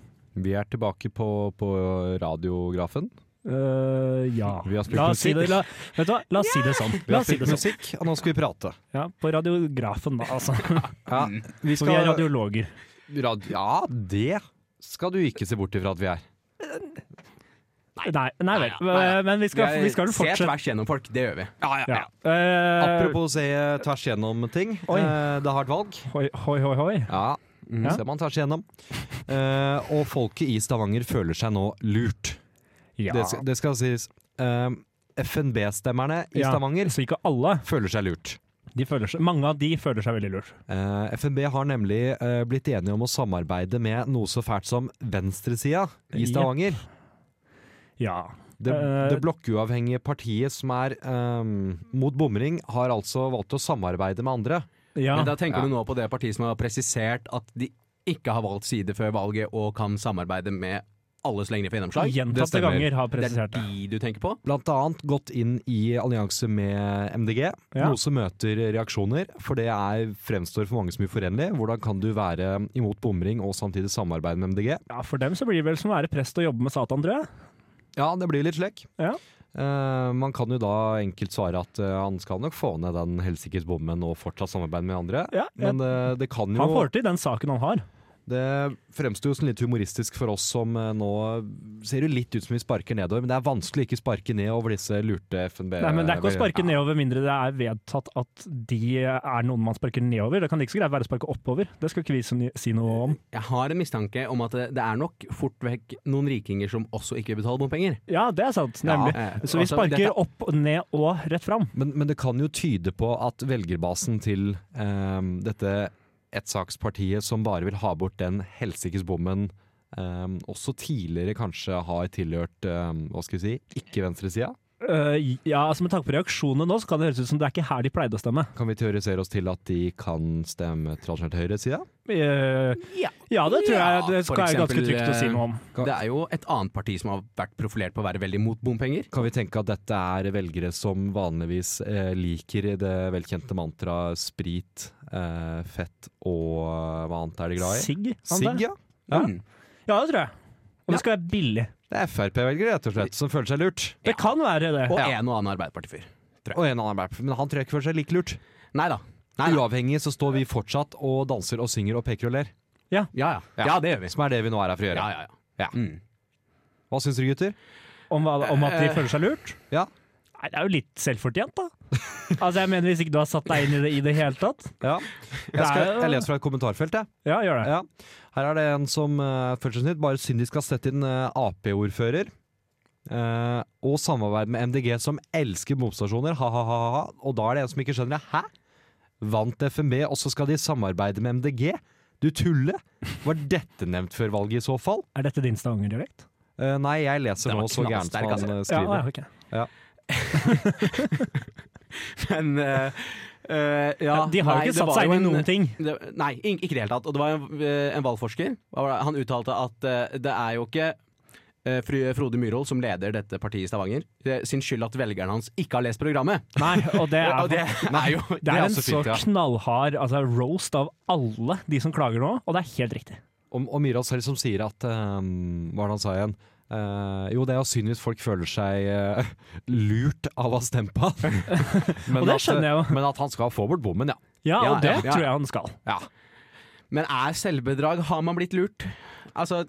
Speaker 5: Vi er tilbake på, på radiografen.
Speaker 4: Eh, ja.
Speaker 5: Vi har spilt
Speaker 4: La oss si det,
Speaker 5: musikk.
Speaker 4: la, vet du hva, la oss si det sånn.
Speaker 5: Vi
Speaker 4: La
Speaker 5: har
Speaker 4: oss si
Speaker 5: spilt
Speaker 4: det sånn.
Speaker 5: musikk, og nå skal vi prate.
Speaker 4: Ja, på radiografen, da, altså.
Speaker 5: Ja, vi
Speaker 4: For vi er radiologer.
Speaker 5: rad- ja, det skal du ikke se bort ifra at vi er.
Speaker 4: Nei, nei vel. Eh,
Speaker 6: nei.
Speaker 4: Men vi skal, vi skal
Speaker 6: Se
Speaker 4: fortsette.
Speaker 6: tvers gjennom folk, det gjør vi.
Speaker 4: Ja. Eh,
Speaker 5: Apropos se tvers gjennom ting. Eh, det har vært valg.
Speaker 4: Hoi, hoi, hoi. hoi.
Speaker 5: Ja, mm,
Speaker 4: Ja.
Speaker 5: ser man tvers igjennom. Eh, og folket i Stavanger føler seg nå lurt.
Speaker 4: Ja.
Speaker 5: Det, skal- det skal sies. Eh, FNB-stemmerne i
Speaker 4: Ja.
Speaker 5: Stavanger
Speaker 4: Så ikke alle.
Speaker 5: føler seg lurt.
Speaker 4: De føler seg, mange av de føler seg veldig lurt.
Speaker 5: Eh, FNB har nemlig eh, blitt enige om å samarbeide med noe så fælt som venstresida i Stavanger.
Speaker 4: Ja.
Speaker 5: Det,
Speaker 4: Eh.
Speaker 5: det blokkuavhengige partiet som er ehm, mot bomring, har altså valgt å samarbeide med andre.
Speaker 4: ja.
Speaker 6: Men da tenker
Speaker 5: Ja.
Speaker 6: du nå på det partiet som har presisert at de ikke har valgt side før valget og kan samarbeide med alle så lenge de får gjennomslag?
Speaker 5: det
Speaker 4: Gjentatte
Speaker 5: stemmer.
Speaker 4: ganger har
Speaker 6: Det er
Speaker 4: presisert det.
Speaker 6: de du tenker på?
Speaker 5: Blant annet gått inn i allianse med MDG,
Speaker 4: Ja.
Speaker 5: noe som møter reaksjoner. For det er, fremstår for mange som uforenlig. Hvordan kan du være imot bomring og samtidig samarbeide med MDG?
Speaker 4: Ja, for dem så blir det vel som å være prest og jobbe med Satan, tror jeg.
Speaker 5: Ja, det blir litt slekk.
Speaker 4: Ja.
Speaker 5: Eh, man kan jo da enkelt svare at eh, han skal nok få ned den helsikes bommen og fortsatt samarbeide med andre.
Speaker 4: Ja,
Speaker 5: Men eh, det
Speaker 4: Han
Speaker 5: kan jo
Speaker 4: får til den saken han har.
Speaker 5: Det fremstår jo som litt humoristisk for oss som eh, nå ser jo litt ut som vi sparker nedover, men det er vanskelig å ikke sparke ned over disse lurte FNB...
Speaker 4: Nei, men Det er
Speaker 6: Eh,
Speaker 4: ikke å sparke nedover mindre det er vedtatt at de er noen man sparker nedover. Det kan like så greit være å sparke oppover. Det skal ikke vi si- si noe om.
Speaker 6: Jeg har en mistanke om at det det er nok fort vekk noen rikinger som også ikke vil betale bompenger.
Speaker 4: Ja, det er sant, nemlig.
Speaker 6: eh,
Speaker 4: så vi
Speaker 6: altså,
Speaker 4: sparker
Speaker 6: dette-
Speaker 4: opp, ned og rett fram.
Speaker 5: Men, men det kan jo tyde på at velgerbasen til ehm, dette ettsakspartiet som bare vil ha bort den helsikes bommen, ehm, også tidligere kanskje har tilhørt ehm, hva skal vi si, ikke-venstresida.
Speaker 4: Eh, ja, altså Med tanke på reaksjonene nå, så kan det høres ut som det er ikke her de pleide å stemme.
Speaker 5: Kan vi teorisere oss til at de kan stemme tradisjonelt høyresida?
Speaker 4: Eh,
Speaker 6: Ja.
Speaker 4: ja, det tror
Speaker 6: Ja,
Speaker 4: jeg det
Speaker 6: for
Speaker 4: skal jeg ganske
Speaker 6: eksempel,
Speaker 4: trygt å si
Speaker 6: eh,
Speaker 4: noe om.
Speaker 6: Det er jo et annet parti som har vært profilert på å være veldig mot bompenger.
Speaker 5: Kan vi tenke at dette er velgere som vanligvis eh, liker det velkjente mantraet sprit, eh, fett og eh, hva annet er de glad i?
Speaker 4: Sigg? antar jeg?
Speaker 5: Sigg, ja.
Speaker 4: Ja.
Speaker 6: Mm.
Speaker 4: Ja, det tror jeg. Og det skal være billig.
Speaker 5: Det er Frp-velgere, rett og slett, som føler seg lurt.
Speaker 4: Det kan være det.
Speaker 6: Og en og annen Arbeiderparti-fyr.
Speaker 5: Og en annen Frp, men han tror jeg ikke føler seg like lurt.
Speaker 6: Nei da. Nei, da.
Speaker 5: Uavhengig så står vi fortsatt og danser og synger og peker og ler,
Speaker 6: Ja, ja. ja, det gjør vi.
Speaker 5: som er det vi nå er her for å gjøre.
Speaker 6: Ja, ja, ja.
Speaker 5: Ja.
Speaker 6: Mm.
Speaker 5: Hva syns dere, gutter?
Speaker 4: Om, hva- om at
Speaker 6: Eh,
Speaker 4: de føler seg lurt?
Speaker 5: Ja.
Speaker 4: Nei, det er jo litt selvfortjent, da. Altså, jeg mener Hvis ikke du har satt deg inn i det i det hele tatt.
Speaker 5: Ja. Jeg, skal, jeg leser fra et kommentarfelt, jeg.
Speaker 4: Ja, gjør det.
Speaker 5: Ja. Her er det en som uh, føler seg snytt. Bare synd de skal sette inn eh, Ap-ordfører. Eh, og samarbeid med MDG, som elsker bomstasjoner. Ha-ha-ha. Og da er det en som ikke skjønner det. Hæ? Vant FNB, og så skal de samarbeide med MDG? Du tuller! Var dette nevnt før valget i så fall?
Speaker 4: Er dette din Stavanger-dialekt?
Speaker 5: Eh, nei, jeg leser
Speaker 6: Den
Speaker 5: nå
Speaker 6: var
Speaker 5: så gærent som
Speaker 6: knallsterk,
Speaker 5: han eh,
Speaker 4: Ja,
Speaker 5: skriver.
Speaker 4: ja, ok.
Speaker 6: Men eh, eh, ja,
Speaker 4: De har
Speaker 6: nei,
Speaker 4: jo
Speaker 6: det
Speaker 4: ikke satt
Speaker 6: var
Speaker 4: seg
Speaker 6: jo
Speaker 4: inn i
Speaker 6: en-
Speaker 4: noen ting.
Speaker 6: Det, nei, in- ikke i det hele tatt. Og det var en, eh, en valgforsker. Hva var det? Han uttalte at eh, det er jo ikke eh, fru Frode Myrhold, som leder dette partiet i Stavanger, eh, sin skyld at velgerne hans ikke har lest programmet.
Speaker 4: Nei, og det
Speaker 6: Og det
Speaker 4: er,
Speaker 5: altså-
Speaker 6: er altså jo
Speaker 4: det er en
Speaker 5: så
Speaker 4: så
Speaker 5: fint, ja.
Speaker 4: knallhard altså, roast av alle de som klager nå, og det er helt riktig.
Speaker 5: Og, og Myhrvold selv som sier at eh, Hva er det han sa igjen? Eh, jo, det er jo synd hvis folk føler seg eh, lurt av å ha stemt på han. Men
Speaker 4: Og det
Speaker 5: at,
Speaker 4: skjønner jeg jo.
Speaker 5: Men at han skal få bort bommen, ja.
Speaker 4: Ja,
Speaker 6: Ja,
Speaker 4: og det
Speaker 6: ja, ja.
Speaker 4: tror jeg han skal.
Speaker 5: ja.
Speaker 6: Men er selvbedrag Har man blitt lurt? Altså,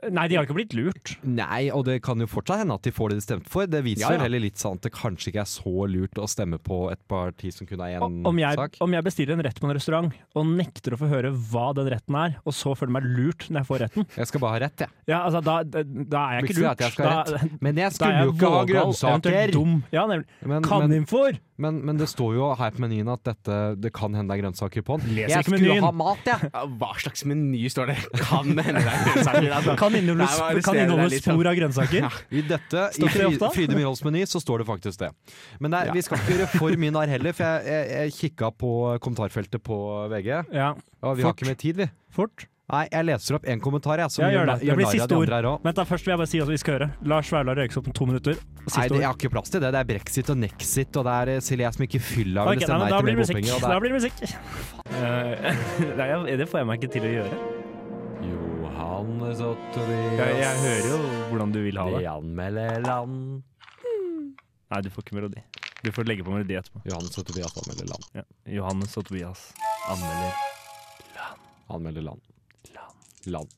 Speaker 4: Nei, de har ikke blitt lurt.
Speaker 5: Nei, og det kan jo fortsatt hende at de får det de stemte for. Det viser
Speaker 6: Ja, ja.
Speaker 5: vel heller litt sånn at det kanskje ikke er så lurt å stemme på et parti som kun er én
Speaker 4: Om jeg,
Speaker 5: Mm, sak.
Speaker 4: om jeg bestiller en rett på en restaurant og nekter å få høre hva den retten er, og så føler jeg meg lurt når jeg får retten,
Speaker 5: Jeg skal bare ha rett, jeg.
Speaker 4: ja, altså, da, da da er jeg ikke
Speaker 5: Viktig er
Speaker 4: lurt.
Speaker 5: at jeg skal ha
Speaker 4: Da-
Speaker 5: rett. Men jeg
Speaker 4: da er
Speaker 5: skulle jo
Speaker 4: jeg
Speaker 5: ikke ha
Speaker 4: vågal, eventuelt
Speaker 5: grønnsaker!
Speaker 4: dum. Ja, nemlig.
Speaker 5: Men, men,
Speaker 4: Kaninfôr!
Speaker 5: men, men det står jo her på menyen at dette, det kan hende det er grønnsaker på den.
Speaker 4: Leser
Speaker 5: Jeg
Speaker 4: ikke
Speaker 5: skulle
Speaker 4: menyen.
Speaker 5: ha mat, jeg!
Speaker 6: ja, hva slags meny står det? Kan det hende det er grønnsaker? Altså.
Speaker 4: Kan
Speaker 6: Nei,
Speaker 4: inneholde,
Speaker 6: jeg må
Speaker 4: sp-
Speaker 6: arrestere
Speaker 4: kan
Speaker 6: deg
Speaker 4: inneholde
Speaker 6: litt.
Speaker 4: spor av grønnsaker.
Speaker 5: I dette, i
Speaker 4: Står ikke det
Speaker 5: Fri-
Speaker 4: ofte?
Speaker 5: Fride Myrholds meny, så står det faktisk det. Men det er- vi skal ikke gjøre for mye narr heller, for jeg, jeg, jeg kikka på kommentarfeltet på VG.
Speaker 4: Ja.
Speaker 5: Og vi har
Speaker 4: Fort.
Speaker 5: ikke mer tid, vi.
Speaker 4: Fort.
Speaker 5: Nei, jeg leser opp en kommentar, jeg. Som
Speaker 4: Ja, gjør
Speaker 5: gjør,
Speaker 4: det. Det
Speaker 5: gjør
Speaker 4: blir
Speaker 5: narr av
Speaker 4: siste
Speaker 5: de
Speaker 4: ord.
Speaker 5: andre her også.
Speaker 4: Vent da, Først vil jeg bare si at vi skal høre. Lars Vaular Røykes opp om to minutter.
Speaker 5: Nei,
Speaker 4: Siste
Speaker 5: det, jeg
Speaker 4: ord.
Speaker 5: har ikke plass til det. Det er brexit og nexit, og det er eh, Silje jeg som ikke fyller av
Speaker 4: Ok, nei,
Speaker 5: eller
Speaker 4: men
Speaker 5: stemmer nei
Speaker 4: da
Speaker 5: til
Speaker 4: blir
Speaker 5: mer
Speaker 4: det musikk.
Speaker 5: bompenger. og
Speaker 4: Da blir det musikk. Eh, nei, jeg- det får jeg meg ikke til å gjøre.
Speaker 5: det er- Johannes og Tobias
Speaker 4: hvordan du vil
Speaker 5: De anmelder land.
Speaker 4: Nei, du får ikke melodi. Du får legge på melodi etterpå.
Speaker 5: Johannes og Tobias anmelder land.
Speaker 4: Ja. Johannes og Tobias anmelder
Speaker 5: Anmelder land. Land.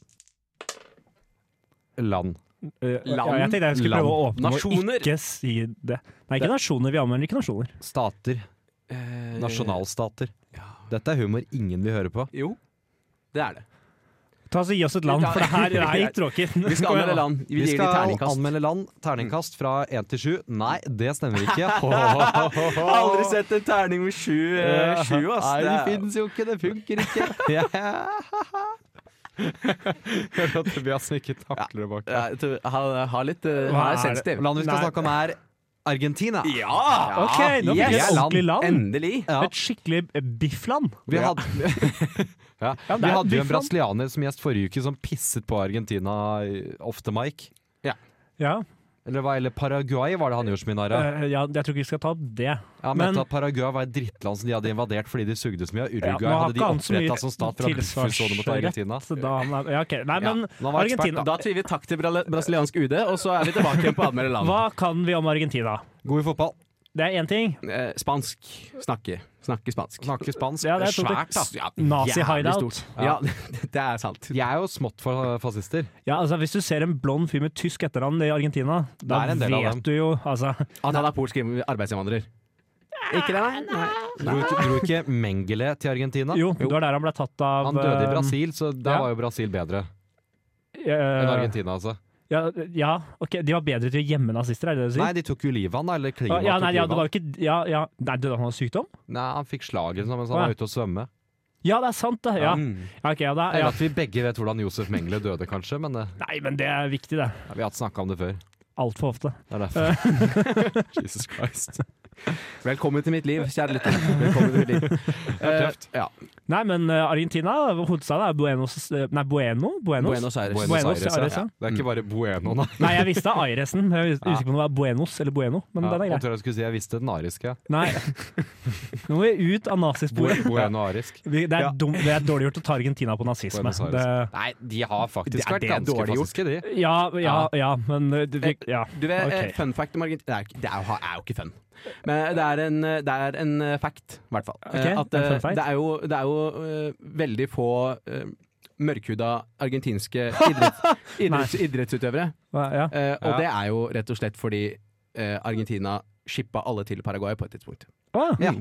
Speaker 5: Land.
Speaker 4: Land, ja, jeg tenkte jeg skulle
Speaker 5: land,
Speaker 4: prøve å åpne
Speaker 6: nasjoner.
Speaker 4: og ikke si det. Nei, ikke nasjoner. Vi anmelder ikke nasjoner.
Speaker 5: Stater.
Speaker 6: Eh,
Speaker 5: Nasjonalstater. Dette er humor ingen vil høre på.
Speaker 6: Jo. Det er det.
Speaker 4: Ta så Gi oss et land, for det her er
Speaker 6: Ja.
Speaker 4: litt tråkig.
Speaker 6: Vi skal anmelde land. Vi,
Speaker 5: Vi
Speaker 6: gir de
Speaker 5: skal
Speaker 6: terningkast.
Speaker 5: anmelde land. Terningkast fra én til sju. Nei, det stemmer ikke. Ho, ho, ho, ho, ho.
Speaker 6: Aldri sett en terning med sju, eh, sju ass.
Speaker 5: Nei,
Speaker 6: Det
Speaker 5: det
Speaker 6: er-
Speaker 5: finnes jo ikke. Det funker ikke. Ja. Hører at Tobias ikke takler det bak
Speaker 6: Ja, jeg tror- ha, ha litt eh,
Speaker 4: Hva er
Speaker 6: ha er sensitiv.
Speaker 5: Landet vi skal
Speaker 4: Nei.
Speaker 5: snakke om, er Argentina.
Speaker 6: Ja!
Speaker 4: Ok, nå fikk vi
Speaker 5: Yes.
Speaker 4: et ordentlig land.
Speaker 6: Endelig.
Speaker 5: Ja.
Speaker 4: Et skikkelig biffland.
Speaker 5: Vi hadde, ja.
Speaker 4: Ja, det
Speaker 5: vi
Speaker 4: er
Speaker 5: hadde jo en
Speaker 4: biffland.
Speaker 5: brasilianer som gjest forrige uke som pisset på Argentina eh, off the mic.
Speaker 4: Ja.
Speaker 5: Eller, hva- eller Paraguay var det han gjorde så mye narr av.
Speaker 4: eh, ja, jeg tror ikke vi skal ta opp det.
Speaker 5: Han mente
Speaker 4: men-
Speaker 5: at Paraguay var et drittland som de hadde invadert fordi de sugde så mye av
Speaker 4: Ja, nå
Speaker 5: Uruguay.
Speaker 4: har
Speaker 5: hadde de
Speaker 4: ikke han så mye
Speaker 5: oppretta som stat fra buffelsone mot Argentina.
Speaker 4: tilsvarsrett, så da han er- Ja, ok. Nei,
Speaker 5: Ja,
Speaker 4: men
Speaker 5: han var ekspert,
Speaker 4: Argentina
Speaker 6: Da sier vi takk til brale- brasiliansk UD, og så er vi tilbake igjen på anmelde land.
Speaker 4: Hva kan vi om Argentina?
Speaker 5: God i fotball.
Speaker 4: Det er én ting.
Speaker 6: Eh, spansk. Snakke. Snakke spansk.
Speaker 5: Snakker spansk.
Speaker 4: Ja, det er to ting.
Speaker 5: svært, ass.
Speaker 6: Ja,
Speaker 4: Nazi-hideout.
Speaker 6: jævlig stort. Ja, det er sant.
Speaker 5: De er jo smått for fascister.
Speaker 4: Ja, altså Hvis du ser en blond fyr med tysk etternavn i Argentina, da
Speaker 5: Det er en del av dem.
Speaker 4: vet du jo altså,
Speaker 6: At han er polsk arbeidsinnvandrer. Ikke det, nei?
Speaker 5: Dro ikke, dro ikke Mengele til Argentina?
Speaker 4: Jo, det var der han ble tatt av
Speaker 5: Han døde i
Speaker 4: eh,
Speaker 5: Brasil, så der
Speaker 4: ja.
Speaker 5: var jo Brasil bedre enn
Speaker 4: eh,
Speaker 5: Argentina, altså.
Speaker 4: ja, ja, ok, de var bedre til å gjemme nazister, er det det du
Speaker 5: Nei,
Speaker 4: sier?
Speaker 5: de tok jo livet av han, da, eller
Speaker 4: Å,
Speaker 5: klimaet
Speaker 4: ja,
Speaker 5: tok
Speaker 4: nei, ja, det
Speaker 5: livet av
Speaker 4: var
Speaker 5: han.
Speaker 4: jo ikke ja, ja. Nei, døde han av sykdom?
Speaker 5: Nei, han fikk slag eller noe mens
Speaker 4: Å,
Speaker 5: han
Speaker 4: ja.
Speaker 5: var ute og svømme.
Speaker 4: Ja, det er sant, det. Ja.
Speaker 5: Mm.
Speaker 4: Ja, ok, ja, det er, ja.
Speaker 5: Eller at vi begge vet hvordan Josef Mengele døde, kanskje, men eh,
Speaker 4: Nei, men det er viktig, det.
Speaker 5: ja, vi har snakka om det før.
Speaker 4: Altfor ofte.
Speaker 5: Det er derfor. Jesus Christ.
Speaker 6: Velkommen til mitt liv, kjære lytter. Velkommen til mitt liv.
Speaker 5: tøft.
Speaker 6: Eh, ja.
Speaker 4: Nei, men eh, Argentina, hovedstaden er Buenos eh, Nei, Bueno? Buenos?
Speaker 6: Buenos Aires.
Speaker 4: Buenos Aires, ja.
Speaker 5: Det er ikke bare Bueno, nei.
Speaker 4: Nei, jeg visste Airesen. Jeg er usikker på om det var Buenos eller Bueno, men
Speaker 5: Ja,
Speaker 4: den er
Speaker 5: jeg
Speaker 4: grei.
Speaker 5: tror jeg skulle si jeg visste den ariske.
Speaker 4: Nei. Nå må vi ut av nazisporet.
Speaker 5: Bueno-arisk.
Speaker 4: Vi- Det er, dum, det er dårlig gjort å ta Argentina på nazisme.
Speaker 5: Buenos Aires.
Speaker 4: Det,
Speaker 5: Nei, de har
Speaker 6: Det
Speaker 5: faktisk
Speaker 6: er
Speaker 5: vært
Speaker 6: det
Speaker 5: ganske
Speaker 6: dårlig gjort.
Speaker 5: fascistiske, de.
Speaker 4: ja, ja, ja, men eh, det, vi, ja.
Speaker 6: Du vet, eh,
Speaker 4: Ok.
Speaker 6: Fun fact om Argentina Nei, det er jo, er jo ikke fun. Men eh, det er en, det er en eh, fact, i hvert fall. Eh, At,
Speaker 4: det er en fun
Speaker 6: eh,
Speaker 4: fact.
Speaker 6: det er jo, det er jo eh, veldig få eh, mørkhuda argentinske idretts, idretts, idrettsutøvere.
Speaker 4: Ja.
Speaker 6: Eh, og
Speaker 5: Ja.
Speaker 6: det er jo rett og slett fordi eh, Argentina shippa alle til Paraguay på et tidspunkt.
Speaker 4: Ah,
Speaker 5: Ja.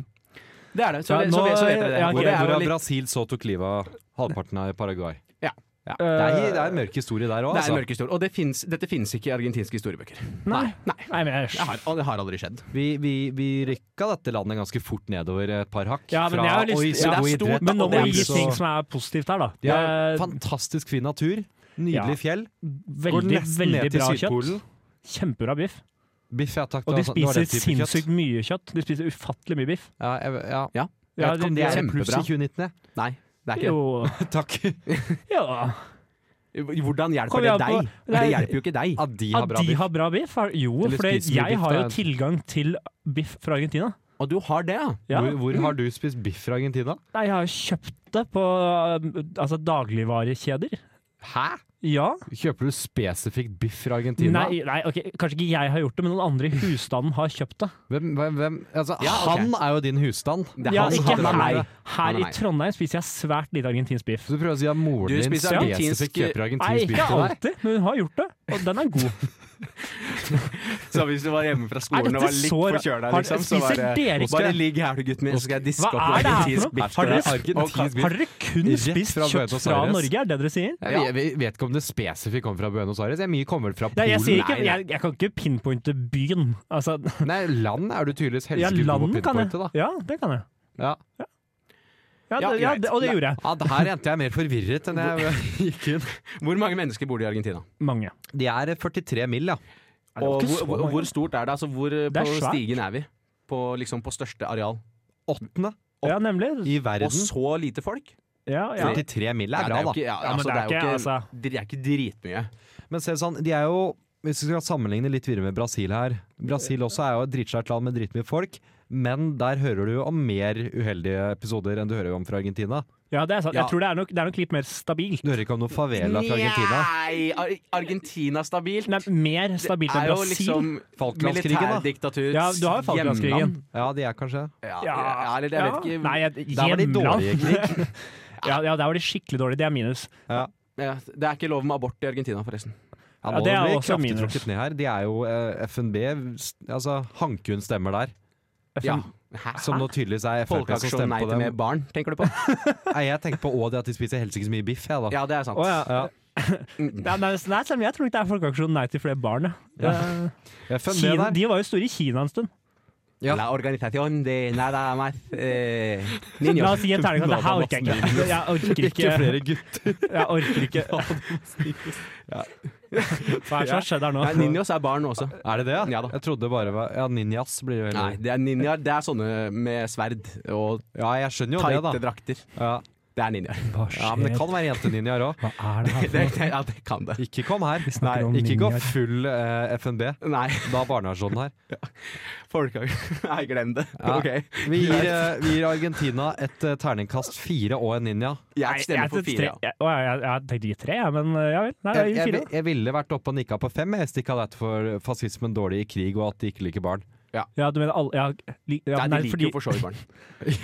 Speaker 6: Det er det. Så,
Speaker 4: Ja,
Speaker 6: så,
Speaker 4: nå-
Speaker 6: så, vet dere det.
Speaker 4: ja, ok.
Speaker 6: Og det er jo
Speaker 5: Hvorav
Speaker 6: litt-
Speaker 5: Brasil så tok livet av halvparten av Paraguay.
Speaker 6: Ja.
Speaker 5: Ja.
Speaker 4: Eh,
Speaker 5: Det, er, det er en mørk historie der òg,
Speaker 6: det er en
Speaker 5: altså.
Speaker 6: mørk historie. Og det finnes, dette finnes ikke i argentinske historiebøker.
Speaker 4: Nei.
Speaker 6: Nei.
Speaker 4: Nei, men jeg
Speaker 6: Det har, og det har aldri skjedd.
Speaker 5: Vi, vi, vi rykka dette landet ganske fort nedover et par hakk.
Speaker 4: Ja, men
Speaker 5: fra
Speaker 4: jeg har lyst-
Speaker 5: oi, så
Speaker 4: ja,
Speaker 5: god
Speaker 6: det er stort,
Speaker 5: idrett,
Speaker 4: Men nå
Speaker 5: og
Speaker 4: må
Speaker 5: oi,
Speaker 4: vi gi
Speaker 5: så-
Speaker 4: ting som er positivt her, da.
Speaker 5: De har
Speaker 4: Eh,
Speaker 5: fantastisk fin natur. Nydelig
Speaker 4: Ja.
Speaker 5: fjell. Går
Speaker 4: veldig,
Speaker 5: nesten
Speaker 4: veldig
Speaker 5: ned til
Speaker 4: bra kjøtt.
Speaker 5: Sydpolen.
Speaker 4: Kjempebra biff.
Speaker 5: Biff, ja takk.
Speaker 4: Og
Speaker 5: det
Speaker 4: de
Speaker 5: var sånn- det
Speaker 4: spiser
Speaker 5: var den type kjøtt.
Speaker 4: sinnssykt mye kjøtt. De spiser ufattelig mye biff.
Speaker 5: Ja, jeg, ja. Jeg
Speaker 4: Ja,
Speaker 5: vet ikke om
Speaker 4: de-
Speaker 5: det er
Speaker 4: de-
Speaker 5: en pluss i 2019,
Speaker 6: Kjempebra.
Speaker 5: jeg.
Speaker 6: Nei, det er ikke
Speaker 4: Jo,
Speaker 5: Takk.
Speaker 4: ja.
Speaker 6: det. Hvordan
Speaker 4: Kom
Speaker 6: hjelper det
Speaker 4: igjen på-
Speaker 6: deg? Det hjelper jo ikke deg.
Speaker 5: At de har
Speaker 4: At
Speaker 5: bra
Speaker 4: de
Speaker 5: biff.
Speaker 4: har bra biff? har- Jo,
Speaker 5: Eller
Speaker 4: for
Speaker 5: spiser mye
Speaker 4: jeg
Speaker 5: biff,
Speaker 4: har
Speaker 5: da.
Speaker 4: jo tilgang til biff fra Argentina.
Speaker 6: Og du har det, ja?
Speaker 4: Ja. Mm.
Speaker 5: Hvor, hvor har du spist biff fra Argentina?
Speaker 4: Nei, jeg har jo kjøpt det på
Speaker 6: eh,
Speaker 4: um, altså, dagligvarekjeder.
Speaker 5: Hæ?
Speaker 4: Ja.
Speaker 5: Kjøper du spesifikt biff fra Argentina?
Speaker 4: Nei, nei ok, kanskje ikke jeg har gjort det, men noen andre i husstanden har kjøpt det.
Speaker 5: Hvem, hvem, hvem? Altså,
Speaker 6: Ja, ok.
Speaker 5: Han er jo din husstand.
Speaker 6: Det er
Speaker 4: Ja,
Speaker 6: han,
Speaker 4: ikke
Speaker 6: han
Speaker 4: her.
Speaker 6: er meg. Han
Speaker 4: Her
Speaker 6: er
Speaker 4: i
Speaker 6: meg.
Speaker 4: Trondheim spiser jeg svært lite argentinsk biff.
Speaker 5: Så du prøver å si at moren
Speaker 6: Du
Speaker 5: din
Speaker 6: spiser argentinsk-
Speaker 5: spesifikt kjøper
Speaker 4: Nei,
Speaker 5: argentinsk biff
Speaker 4: ikke
Speaker 5: til deg?
Speaker 4: alltid, men hun har gjort det, og den er god.
Speaker 6: Så hvis du var hjemme fra
Speaker 4: Er
Speaker 6: skolen
Speaker 4: dette
Speaker 6: og var litt
Speaker 4: så ra-
Speaker 6: forkjøla,
Speaker 4: Har-
Speaker 6: liksom, så var
Speaker 4: spiser dere
Speaker 6: det
Speaker 4: ikke-
Speaker 6: Bare ligg her, du gutten min, så skal jeg diske
Speaker 4: Hva
Speaker 6: opp
Speaker 4: er det her
Speaker 6: argentinsk
Speaker 4: for noe?
Speaker 6: biff.
Speaker 4: Har dere,
Speaker 5: Argentinsk biff.
Speaker 4: har dere kun
Speaker 5: Rett
Speaker 4: spist
Speaker 5: fra
Speaker 4: kjøtt
Speaker 5: Buenos
Speaker 4: fra
Speaker 5: Aires.
Speaker 4: Norge, er det det dere sier?
Speaker 5: Jeg, vet- jeg vet ikke om det spesifikt kommer fra Buenos Aires. Jeg mye kommer fra
Speaker 4: Nei,
Speaker 5: Polen.
Speaker 4: jeg, sier ikke,
Speaker 6: nei.
Speaker 4: jeg, jeg kan ikke pinpointe byen. Altså,
Speaker 5: Nei, land er du
Speaker 4: ja,
Speaker 5: tydeligvis helst ikke god
Speaker 4: land
Speaker 5: på
Speaker 4: kan jeg.
Speaker 5: pinpointet, da.
Speaker 4: Ja, det kan jeg.
Speaker 5: Ja.
Speaker 4: Ja,
Speaker 6: Ja,
Speaker 4: det, ja,
Speaker 6: greit.
Speaker 4: det, og det gjorde jeg.
Speaker 5: Ja, det her endte jeg mer forvirret enn jeg gikk inn.
Speaker 6: Hvor mange mennesker bor det i Argentina?
Speaker 4: Mange.
Speaker 5: De er 43 mil, ja.
Speaker 4: det var
Speaker 6: Og
Speaker 4: ikke
Speaker 6: hvor,
Speaker 4: så
Speaker 6: hvor,
Speaker 4: mange.
Speaker 6: hvor stort er det? Altså, hvor eh, på
Speaker 4: er svært.
Speaker 6: stigen er vi? På, liksom, på største areal.
Speaker 5: Åttende
Speaker 4: Ja, nemlig.
Speaker 5: i
Speaker 6: Og
Speaker 5: verden.
Speaker 6: så lite folk?
Speaker 4: Ja, ja.
Speaker 5: 43 mil
Speaker 6: Ja,
Speaker 5: er bra,
Speaker 6: jo ikke-
Speaker 5: da.
Speaker 6: ja,
Speaker 4: Ja, men
Speaker 6: altså,
Speaker 4: det er ikke, altså-
Speaker 6: det er ikke dritmye.
Speaker 5: Men se sånn, de er jo Hvis vi skal sammenligne litt videre med Brasil her Brasil også er jo et dritsvært land med dritmye folk. Men der hører du jo om mer uheldige episoder enn du hører om fra Argentina.
Speaker 4: ja, det er sant.
Speaker 6: Ja.
Speaker 4: Jeg tror det er nok, det er nok litt mer stabilt.
Speaker 5: Du hører ikke om noe favela fra Argentina.
Speaker 6: Nei, Ar Argentina stabilt.
Speaker 4: Nei, mer stabilt enn
Speaker 6: er jo
Speaker 4: Brasil.
Speaker 6: liksom
Speaker 5: Falklandskrigen, da.
Speaker 6: militærdiktaturets
Speaker 4: Ja, du har jo Falklandskrigen.
Speaker 6: hjemland.
Speaker 5: Ja, de er kanskje
Speaker 6: Ja,
Speaker 4: Ja,
Speaker 6: ja, eller jeg vet
Speaker 4: ja.
Speaker 6: ikke
Speaker 4: Nei, jeg,
Speaker 5: Der var de
Speaker 4: hjemland.
Speaker 5: dårlige i krig.
Speaker 4: Ja, ja, der var de skikkelig dårlige. Det er minus.
Speaker 6: Ja, Det er ikke lov med abort i Argentina, forresten.
Speaker 5: Ja,
Speaker 4: Ja,
Speaker 5: nå
Speaker 4: det er
Speaker 5: blir
Speaker 4: også
Speaker 5: kraftig
Speaker 4: minus.
Speaker 5: trukket ned her. De er jo eh, FNB s- Altså, Hankun stemmer der.
Speaker 6: Ja.
Speaker 5: Som nå tydeligvis er Frp som
Speaker 6: Folkeaksjon
Speaker 5: stemmer
Speaker 6: nei
Speaker 5: på
Speaker 6: til mer
Speaker 5: dem.
Speaker 6: barn, tenker du på?
Speaker 5: Nei, jeg tenker på også det at de spiser helst ikke så mye biff. Jeg, da.
Speaker 6: Ja, det er sant.
Speaker 4: Å ja.
Speaker 5: Ja.
Speaker 4: Nei, nei, nei, Sam, jeg tror ikke det er Folkeaksjonen Nei til flere barn. jeg. Eh,
Speaker 5: Jeg fant det
Speaker 4: Kina,
Speaker 5: der.
Speaker 4: de var jo store i Kina en stund.
Speaker 5: Ja.
Speaker 6: La organisasjon de nada más eh,
Speaker 4: La
Speaker 6: niños.
Speaker 4: oss gi en terning. Det her orker jeg ikke. Jeg orker ikke,
Speaker 5: Ikke flere gutter.
Speaker 4: Jeg orker ikke. Hva er det som har skjedd her nå?
Speaker 6: Nei, ninjos er barn også.
Speaker 5: Er det det,
Speaker 6: Ja da.
Speaker 5: Jeg trodde bare var Ja, ninjas blir jo
Speaker 6: Nei,
Speaker 5: heller
Speaker 6: det er ninjaer. Det er sånne med sverd og
Speaker 5: Ja, jeg skjønner jo
Speaker 6: tighte
Speaker 5: det, da.
Speaker 6: drakter.
Speaker 5: Ja.
Speaker 6: Det er ninjaer.
Speaker 4: Hva
Speaker 5: ja, men det kan være jenteninjaer òg.
Speaker 4: Hva er det her
Speaker 6: Det, det, ja, det kan det.
Speaker 5: Ikke kom her. Nei,
Speaker 4: snakker om
Speaker 5: ikke gå
Speaker 4: ninjaer.
Speaker 5: full eh, FNB.
Speaker 6: Nei,
Speaker 5: Da er barneaksjonen her.
Speaker 6: folkeaksjon Nei, glem det.
Speaker 5: Ja.
Speaker 6: Ok.
Speaker 5: Vi gir, eh, vi gir Argentina et eh, terningkast fire og en ninja.
Speaker 6: Jeg stemmer for
Speaker 4: tenkte
Speaker 6: fire.
Speaker 4: tre. Jeg, å, jeg, jeg, jeg tenkte ikke tre, jeg, men eh, ja vel. Nei,
Speaker 5: Jeg,
Speaker 4: jeg,
Speaker 5: jeg,
Speaker 4: fire.
Speaker 5: jeg ville vært oppe og nikka på fem hvis det ikke hadde vært for fascismen dårlig i krig og at de ikke liker barn.
Speaker 4: Ja, du mener alle ja, li, ja,
Speaker 6: Ja,
Speaker 4: nei,
Speaker 6: de liker
Speaker 4: fordi,
Speaker 6: jo for så vidt barn.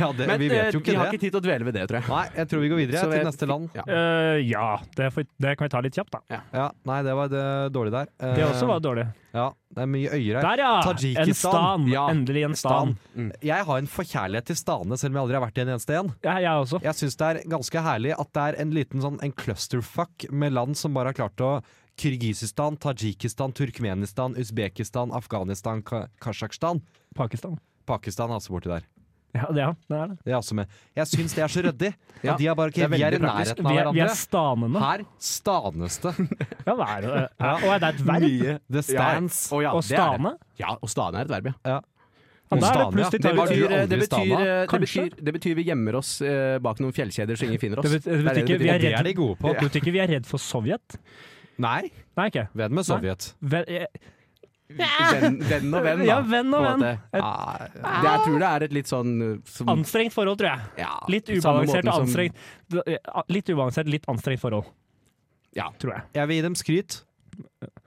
Speaker 5: Ja, det,
Speaker 6: Men
Speaker 5: vi
Speaker 6: eh,
Speaker 5: vet jo ikke
Speaker 6: vi har
Speaker 5: det.
Speaker 6: ikke tid til å dvele ved det, tror jeg.
Speaker 5: Nei, jeg tror vi går videre
Speaker 6: Så
Speaker 5: til
Speaker 6: jeg-
Speaker 5: neste land.
Speaker 6: Ja.
Speaker 4: Eh, ja, det, får- det kan vi ta litt kjapt, da.
Speaker 5: Ja, nei, det var det dårlig der. Eh,
Speaker 4: Det også var dårlig.
Speaker 5: Ja, det er mye øyer her.
Speaker 4: Der, ja!
Speaker 5: Tadsjikistan.
Speaker 4: En stan.
Speaker 6: Ja,
Speaker 4: Endelig en
Speaker 5: Stan.
Speaker 4: stan.
Speaker 5: Jeg har en forkjærlighet til stane, selv om jeg aldri har vært i en eneste en.
Speaker 4: Ja, jeg også.
Speaker 5: Jeg syns det er ganske herlig at det er en liten sånn en clusterfuck med land som bare har klart å Kirgisistan, Tadsjikistan, Turkmenistan, Usbekistan, Afghanistan, Ka Kasjokstan.
Speaker 4: Pakistan.
Speaker 5: Pakistan er også borti der.
Speaker 4: Ja, det, ja, det er det.
Speaker 5: Det er også med. Jeg syns det er så ryddig. At
Speaker 6: Ja,
Speaker 5: de er bare
Speaker 6: det
Speaker 5: ikke
Speaker 6: er
Speaker 5: Vi er i
Speaker 6: veldig praktisk.
Speaker 5: nærheten av
Speaker 4: Vi er, vi
Speaker 5: hverandre.
Speaker 4: er stanene.
Speaker 5: Her stanes det.
Speaker 4: Ja, hva er det? Ja. Og er det et verb?
Speaker 5: The stands.
Speaker 6: Ja, å
Speaker 4: Og
Speaker 6: ja, det er det.
Speaker 4: stane?
Speaker 6: Ja, og stane er et verb, ja.
Speaker 4: Ja, da er det
Speaker 5: Stane, ja.
Speaker 4: plutselig
Speaker 6: Det
Speaker 5: var
Speaker 4: tar
Speaker 5: du
Speaker 4: vi-
Speaker 6: betyr, eh, det,
Speaker 5: aldri
Speaker 6: betyr,
Speaker 5: stana?
Speaker 6: det,
Speaker 4: eh, Kanskje?
Speaker 6: betyr, det betyr vi gjemmer oss eh, bak noen fjellkjeder så ingen finner oss.
Speaker 4: Det bet- det
Speaker 6: er
Speaker 4: betyr ikke vi er
Speaker 5: Det er de gode på.
Speaker 4: Jeg tror ikke vi er redd for Sovjet.
Speaker 5: Nei,
Speaker 4: Nei, ikke.
Speaker 5: venn med Sovjet.
Speaker 4: Vel, jeg-
Speaker 6: Venn, venn og venn, da.
Speaker 4: Ja, venn og
Speaker 6: på
Speaker 4: venn.
Speaker 6: en måte.
Speaker 4: Ah.
Speaker 6: Det, jeg tror det er et litt sånn uh, som,
Speaker 4: Anstrengt forhold, tror jeg.
Speaker 6: ja,
Speaker 4: Litt
Speaker 6: på samme
Speaker 4: ubalansert
Speaker 6: måten
Speaker 4: og
Speaker 6: som-
Speaker 4: anstrengt. Litt ubalansert, litt anstrengt forhold.
Speaker 6: Ja.
Speaker 4: Tror jeg.
Speaker 5: Jeg vil gi dem skryt.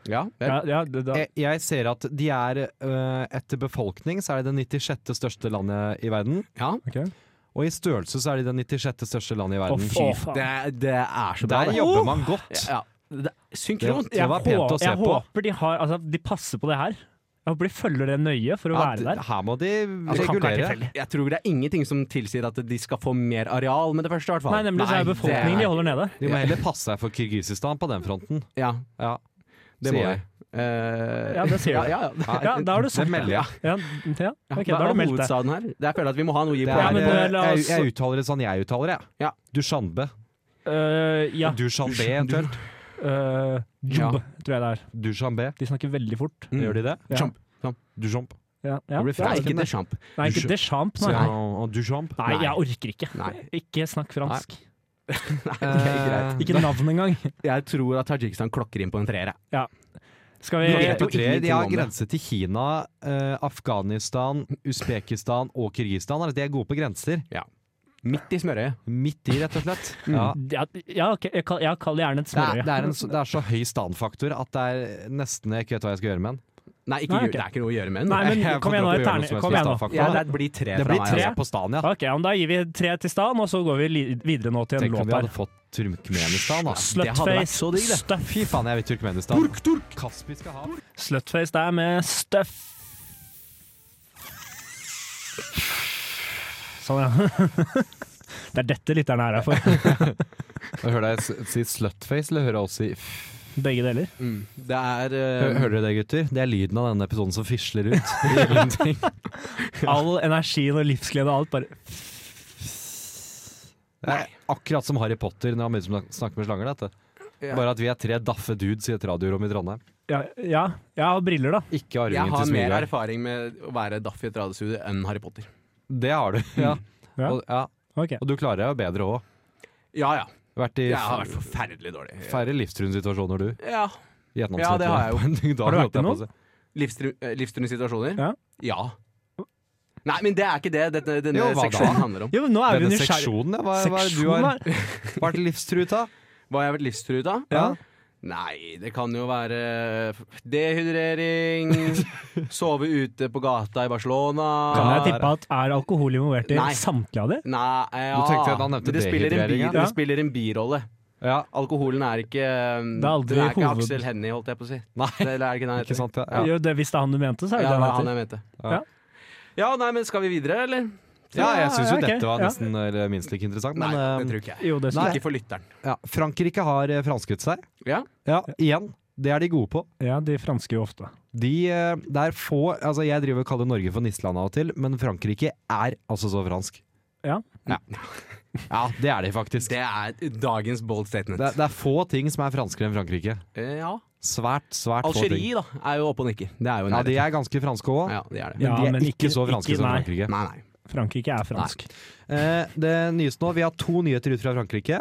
Speaker 6: Ja, vel.
Speaker 4: Ja, ja, det, da,
Speaker 5: Jeg, Eh, jeg ser at de er øh, etter befolkning så er de det 96. største landet i verden.
Speaker 6: ja.
Speaker 4: ok.
Speaker 5: Og i størrelse så er de det 96. største landet i
Speaker 4: Å,
Speaker 5: verden.
Speaker 4: fy faen.
Speaker 6: Det, er- det er så bra.
Speaker 5: Der
Speaker 6: det.
Speaker 5: jobber man godt.
Speaker 6: Ja, det, er synkront.
Speaker 5: Det- det var
Speaker 4: Jeg
Speaker 5: pent å
Speaker 4: hå-
Speaker 5: se
Speaker 4: jeg
Speaker 5: på.
Speaker 4: håper de, har, altså, de passer på det her. Jeg håper de følger det nøye for å
Speaker 5: Ja,
Speaker 4: være
Speaker 5: d-
Speaker 4: der.
Speaker 5: her må de
Speaker 4: Altså, kan ikke være
Speaker 5: regulere.
Speaker 4: tilfeldig.
Speaker 6: Jeg tror det er ingenting som tilsier at de skal få mer areal med det første, i hvert fall.
Speaker 4: Nei, nemlig så er det befolkningen de holder nede.
Speaker 5: De må heller passe seg for Kirgisistan på den fronten.
Speaker 6: Ja,
Speaker 5: Ja,
Speaker 6: det må
Speaker 5: sier
Speaker 6: vi.
Speaker 5: jeg.
Speaker 6: Eh,
Speaker 4: Ja, det sier
Speaker 6: ja,
Speaker 4: du.
Speaker 6: ja, ja.
Speaker 4: Ja, da har du sagt
Speaker 6: Sånn.
Speaker 5: det melder jeg.
Speaker 4: Ja, ja. ok,
Speaker 6: Hva
Speaker 4: da har
Speaker 6: er
Speaker 4: du meldt deg.
Speaker 6: hovedstaden her? Det er- Jeg føler at vi må ha noe å gi
Speaker 5: Det
Speaker 6: på
Speaker 5: er,
Speaker 4: Ja, men
Speaker 5: øh,
Speaker 4: la
Speaker 5: jeg,
Speaker 4: oss-
Speaker 5: jeg uttaler det sånn jeg uttaler det.
Speaker 6: Ja.
Speaker 5: Dushanbe.
Speaker 4: Øh, ja.
Speaker 5: Dushanbe
Speaker 6: Dush-
Speaker 5: eventuelt.
Speaker 4: Øh, jobb, tror jeg det er.
Speaker 5: Dushanbe.
Speaker 4: De snakker veldig fort.
Speaker 6: Mm.
Speaker 5: Gjør de det?
Speaker 4: Ja.
Speaker 6: Champ. Champ.
Speaker 5: Dushamp.
Speaker 4: Ja, ja.
Speaker 5: Det blir
Speaker 6: Nei,
Speaker 5: fransk.
Speaker 6: ikke Deschamps.
Speaker 4: Nei, ikke Deschamps,
Speaker 5: Så,
Speaker 4: nei.
Speaker 5: og Dushamp.
Speaker 4: Nei, jeg orker ikke.
Speaker 6: Nei.
Speaker 4: Ikke snakk fransk. Eh,
Speaker 6: Nei, det er greit.
Speaker 4: Ikke navn engang.
Speaker 6: Jeg tror at Tajikistan klokker inn på en treer. jeg.
Speaker 4: Skal
Speaker 5: De
Speaker 4: vi
Speaker 5: er på
Speaker 6: vet jo
Speaker 5: tre. De
Speaker 6: ingenting
Speaker 5: har
Speaker 6: om det.
Speaker 5: grense til Kina, eh, Afghanistan, Usbekistan og Kirgisistan. Altså, De er gode på grenser.
Speaker 6: Midt i smørøyet.
Speaker 5: Midt i, rett og slett. Ja.
Speaker 4: Ja, ja, ok. Jeg kall- jeg kaller gjerne et
Speaker 5: Det, er,
Speaker 4: smørøye.
Speaker 5: det, er en, så- det er så høy standfaktor at det er nesten jeg ikke vet hva jeg skal gjøre med den.
Speaker 6: Nei, ikke,
Speaker 4: Nei,
Speaker 6: gjør-
Speaker 4: ok.
Speaker 6: det er ikke noe å gjøre med den.
Speaker 4: Nei, men kom
Speaker 5: Jeg får
Speaker 4: igjen nå.
Speaker 5: droppe å
Speaker 4: et
Speaker 5: gjøre noe som
Speaker 4: terning-
Speaker 5: helst
Speaker 4: Kom
Speaker 5: med
Speaker 4: igjen nå.
Speaker 5: standfaktor,
Speaker 6: Ja,
Speaker 5: da.
Speaker 6: det blir tre
Speaker 5: Det
Speaker 6: fra
Speaker 5: blir
Speaker 6: meg.
Speaker 5: tre
Speaker 6: altså.
Speaker 5: på stan, ja.
Speaker 4: Ok, ja, men Da gir vi tre til stan, og så går vi li videre nå til en
Speaker 5: Tenk om
Speaker 4: låt
Speaker 5: vi
Speaker 4: her.
Speaker 5: hadde fått Turkmenistan, da.
Speaker 6: det hadde vært så digg,
Speaker 4: Slutface,
Speaker 6: det.
Speaker 4: stuff.
Speaker 5: Fy faen, jeg vil Turkmenistan. Turk, turk. Kaspiske hav.
Speaker 4: Slutface der med stuff. Sånn, ja. Det er dette lytterne er her for.
Speaker 5: Hører deg si slutface, eller hører jeg også si
Speaker 4: Begge deler.
Speaker 6: Mm. Det er
Speaker 5: Hø-
Speaker 6: eh,
Speaker 5: Hører dere det, gutter? Det er lyden av denne episoden som fisler ut. Det gjør ingenting.
Speaker 4: All energien og livsglede og alt bare
Speaker 5: Det er akkurat som Harry Potter når han begynner å snak- snakke med slanger. Dette.
Speaker 6: Ja.
Speaker 5: Bare at vi er tre daffe dudes i et radiorom i Trondheim.
Speaker 4: Ja, ja, jeg har briller, da.
Speaker 5: Ikke
Speaker 6: Jeg
Speaker 5: arvingen til
Speaker 6: har mer
Speaker 5: Smygard.
Speaker 6: erfaring med å være Daff i et radiostudio enn Harry Potter.
Speaker 5: Det har du. Ja.
Speaker 4: Ja.
Speaker 5: Og, ja.
Speaker 4: Ok.
Speaker 5: og du klarer deg jo bedre òg.
Speaker 6: Ja ja.
Speaker 5: Vært i
Speaker 6: Jeg har vært forferdelig dårlig.
Speaker 5: færre livstrunsituasjoner, du.
Speaker 6: Ja.
Speaker 5: Gjennomsnittlig.
Speaker 6: Ja, det har jeg jo.
Speaker 5: Da
Speaker 4: Har du vært
Speaker 5: holdt
Speaker 4: i
Speaker 5: jeg på
Speaker 4: noen?
Speaker 5: å si.
Speaker 6: Livstru- eh, Livstruende situasjoner?
Speaker 4: Ja.
Speaker 6: Nei, men det er ikke det dette, denne
Speaker 5: Jo, hva da?
Speaker 6: seksjonen handler om.
Speaker 4: Jo, men nå er vi
Speaker 5: Denne
Speaker 4: nysgjerrige.
Speaker 5: seksjonen, ja. Hva, hva er det du har
Speaker 4: Seksjonen er-
Speaker 5: vært livstruet av?
Speaker 6: Hva jeg har vært livstruet av?
Speaker 5: Ja.
Speaker 6: Nei, det kan jo være dehydrering, sove ute på gata i Barcelona
Speaker 4: Kan jeg tippe at er alkohol involvert i
Speaker 6: Nei.
Speaker 4: samtlige av de?
Speaker 6: Nei, ja.
Speaker 5: Du tenkte at han nevnte
Speaker 6: Men det spiller en,
Speaker 5: dehydrering,
Speaker 6: bi,
Speaker 5: ja.
Speaker 6: det spiller en birolle.
Speaker 5: Ja.
Speaker 6: Alkoholen er ikke um,
Speaker 4: Det er aldri
Speaker 6: den er ikke
Speaker 4: hoved-
Speaker 6: Aksel Hennie, holdt jeg på å si.
Speaker 5: Nei,
Speaker 6: Eller er det ikke den
Speaker 5: ikke
Speaker 6: heter?
Speaker 5: sant? Ja.
Speaker 4: Jo, det, hvis det er han du mente, så er det
Speaker 6: Ja, det
Speaker 4: det
Speaker 6: var
Speaker 4: han
Speaker 6: han
Speaker 4: heter.
Speaker 6: jeg mente.
Speaker 5: Ja.
Speaker 6: Ja. Ja, nei, men skal vi videre, eller?
Speaker 5: Ja, jeg syns jo
Speaker 4: Ja, ja, ok.
Speaker 5: dette var
Speaker 4: Ja.
Speaker 5: nesten eller minst like interessant, men
Speaker 6: nei, det
Speaker 5: eh,
Speaker 6: tror ikke jeg.
Speaker 4: Jo, det
Speaker 5: Nei.
Speaker 4: skal
Speaker 6: Ikke for lytteren.
Speaker 5: ja, Frankrike har eh, fransket seg.
Speaker 6: Ja.
Speaker 5: Ja, igjen. Det er de gode på.
Speaker 4: Ja, de franske jo ofte.
Speaker 5: De, eh, det er få Altså, jeg driver og kaller Norge for Nisseland av og til, men Frankrike er altså så fransk.
Speaker 4: Ja.
Speaker 5: Ja, ja det er de faktisk. Det,
Speaker 6: Det er dagens bold statement.
Speaker 5: er- det er få ting som er franskere enn Frankrike.
Speaker 6: Eh, ja.
Speaker 5: Svært, svært få ting.
Speaker 6: Algerie, da, er jo oppe og nikker. Det er jo en
Speaker 5: Ja, de
Speaker 6: nærhet.
Speaker 5: er ganske franske òg,
Speaker 6: ja, de er det.
Speaker 5: men
Speaker 4: Ja,
Speaker 5: de er
Speaker 4: men
Speaker 5: ikke,
Speaker 4: ikke-
Speaker 5: så franske
Speaker 4: ikke-
Speaker 5: som
Speaker 4: nei.
Speaker 5: Frankrike.
Speaker 6: Nei, nei.
Speaker 4: Frankrike er fransk.
Speaker 5: Eh, det nyeste nå, vi har to nyheter ut fra Frankrike.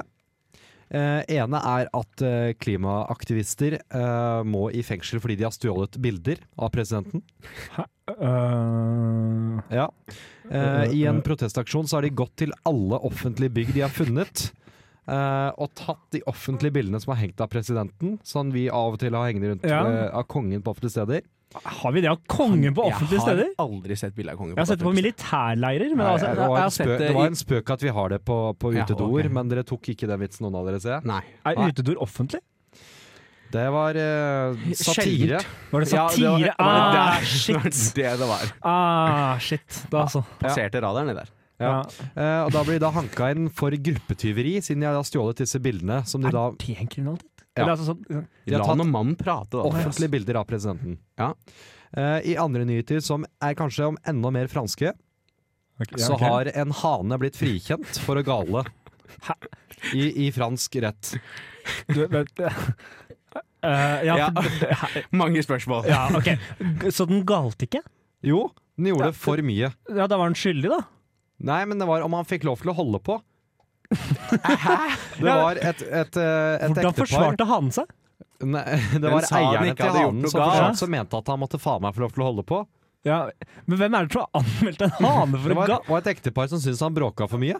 Speaker 5: Eh, ene er at eh, klimaaktivister eh, må i fengsel fordi de har stjålet bilder av presidenten.
Speaker 4: Øh,
Speaker 5: Ja. Eh, I en protestaksjon så har de gått til alle offentlige bygg de har funnet. eh, og tatt de offentlige bildene som har hengt av presidenten, som vi av og til har hengende rundt
Speaker 4: Ja.
Speaker 5: eh, av kongen på offentlige steder.
Speaker 4: har vi det av kongen på offentlige steder?
Speaker 6: Jeg har aldri sett bilde av kongen.
Speaker 4: Jeg har sett det på militærleirer, men
Speaker 5: Nei,
Speaker 4: altså,
Speaker 5: det, var
Speaker 6: jeg har
Speaker 5: en
Speaker 6: sett
Speaker 5: spøk,
Speaker 6: det
Speaker 5: det var
Speaker 6: i-
Speaker 5: en spøk at vi har det på, på
Speaker 6: Ja,
Speaker 5: utedoer,
Speaker 6: ok.
Speaker 5: men dere tok ikke den vitsen, noen av dere, ser jeg.
Speaker 6: Nei.
Speaker 4: er utedoer offentlig?
Speaker 5: Det var eh, satire.
Speaker 6: Sjeldent.
Speaker 4: Var det
Speaker 6: Ja, det
Speaker 4: satire?
Speaker 6: var-
Speaker 4: ah,
Speaker 6: det er-
Speaker 4: shit!
Speaker 6: Det det var.
Speaker 4: Ah, shit. Da, altså.
Speaker 6: Passerte radaren, det der.
Speaker 4: Ja.
Speaker 5: Ja. Eh, og da blir de da hanka inn for gruppetyveri, siden de har da stjålet disse bildene. Som de
Speaker 4: Er
Speaker 5: da
Speaker 4: det en kriminalitet?
Speaker 5: Ja.
Speaker 4: Eller, altså, sånn,
Speaker 5: De har
Speaker 6: La
Speaker 5: tatt
Speaker 6: nå mannen prate, da.
Speaker 5: Offentlige bilder av presidenten.
Speaker 6: Ja.
Speaker 5: Eh, I andre nyheter, som er kanskje om enda mer franske,
Speaker 4: altså. ja,
Speaker 5: så
Speaker 4: ok.
Speaker 5: har en hane blitt frikjent for å gale.
Speaker 4: Hæ?
Speaker 5: I, I fransk rett.
Speaker 4: du, vent, Eh, ja,
Speaker 6: Ja.
Speaker 4: for,
Speaker 6: Mange spørsmål.
Speaker 4: ja, ok. Så den galte ikke?
Speaker 5: Jo, den
Speaker 4: Ja.
Speaker 5: gjorde for mye.
Speaker 4: Ja, da var den skyldig, da.
Speaker 5: Nei, men det var om han fikk lov til å holde på. Det var et, et, eh, et
Speaker 4: Hvordan
Speaker 5: ektepar
Speaker 4: forsvarte hanen seg?
Speaker 5: Nei, Det
Speaker 6: Den
Speaker 5: var
Speaker 6: sa han
Speaker 5: eierne
Speaker 6: ikke
Speaker 5: til
Speaker 6: hadde gjort
Speaker 5: hanen
Speaker 6: noe
Speaker 5: som,
Speaker 6: galt.
Speaker 5: forsvant, som mente at han måtte faen meg få lov til å holde på.
Speaker 4: Ja, men hvem er det som har anmeldt en hane for
Speaker 5: Det
Speaker 4: å
Speaker 5: var,
Speaker 4: ga...
Speaker 5: var et ektepar som syntes han bråka for mye.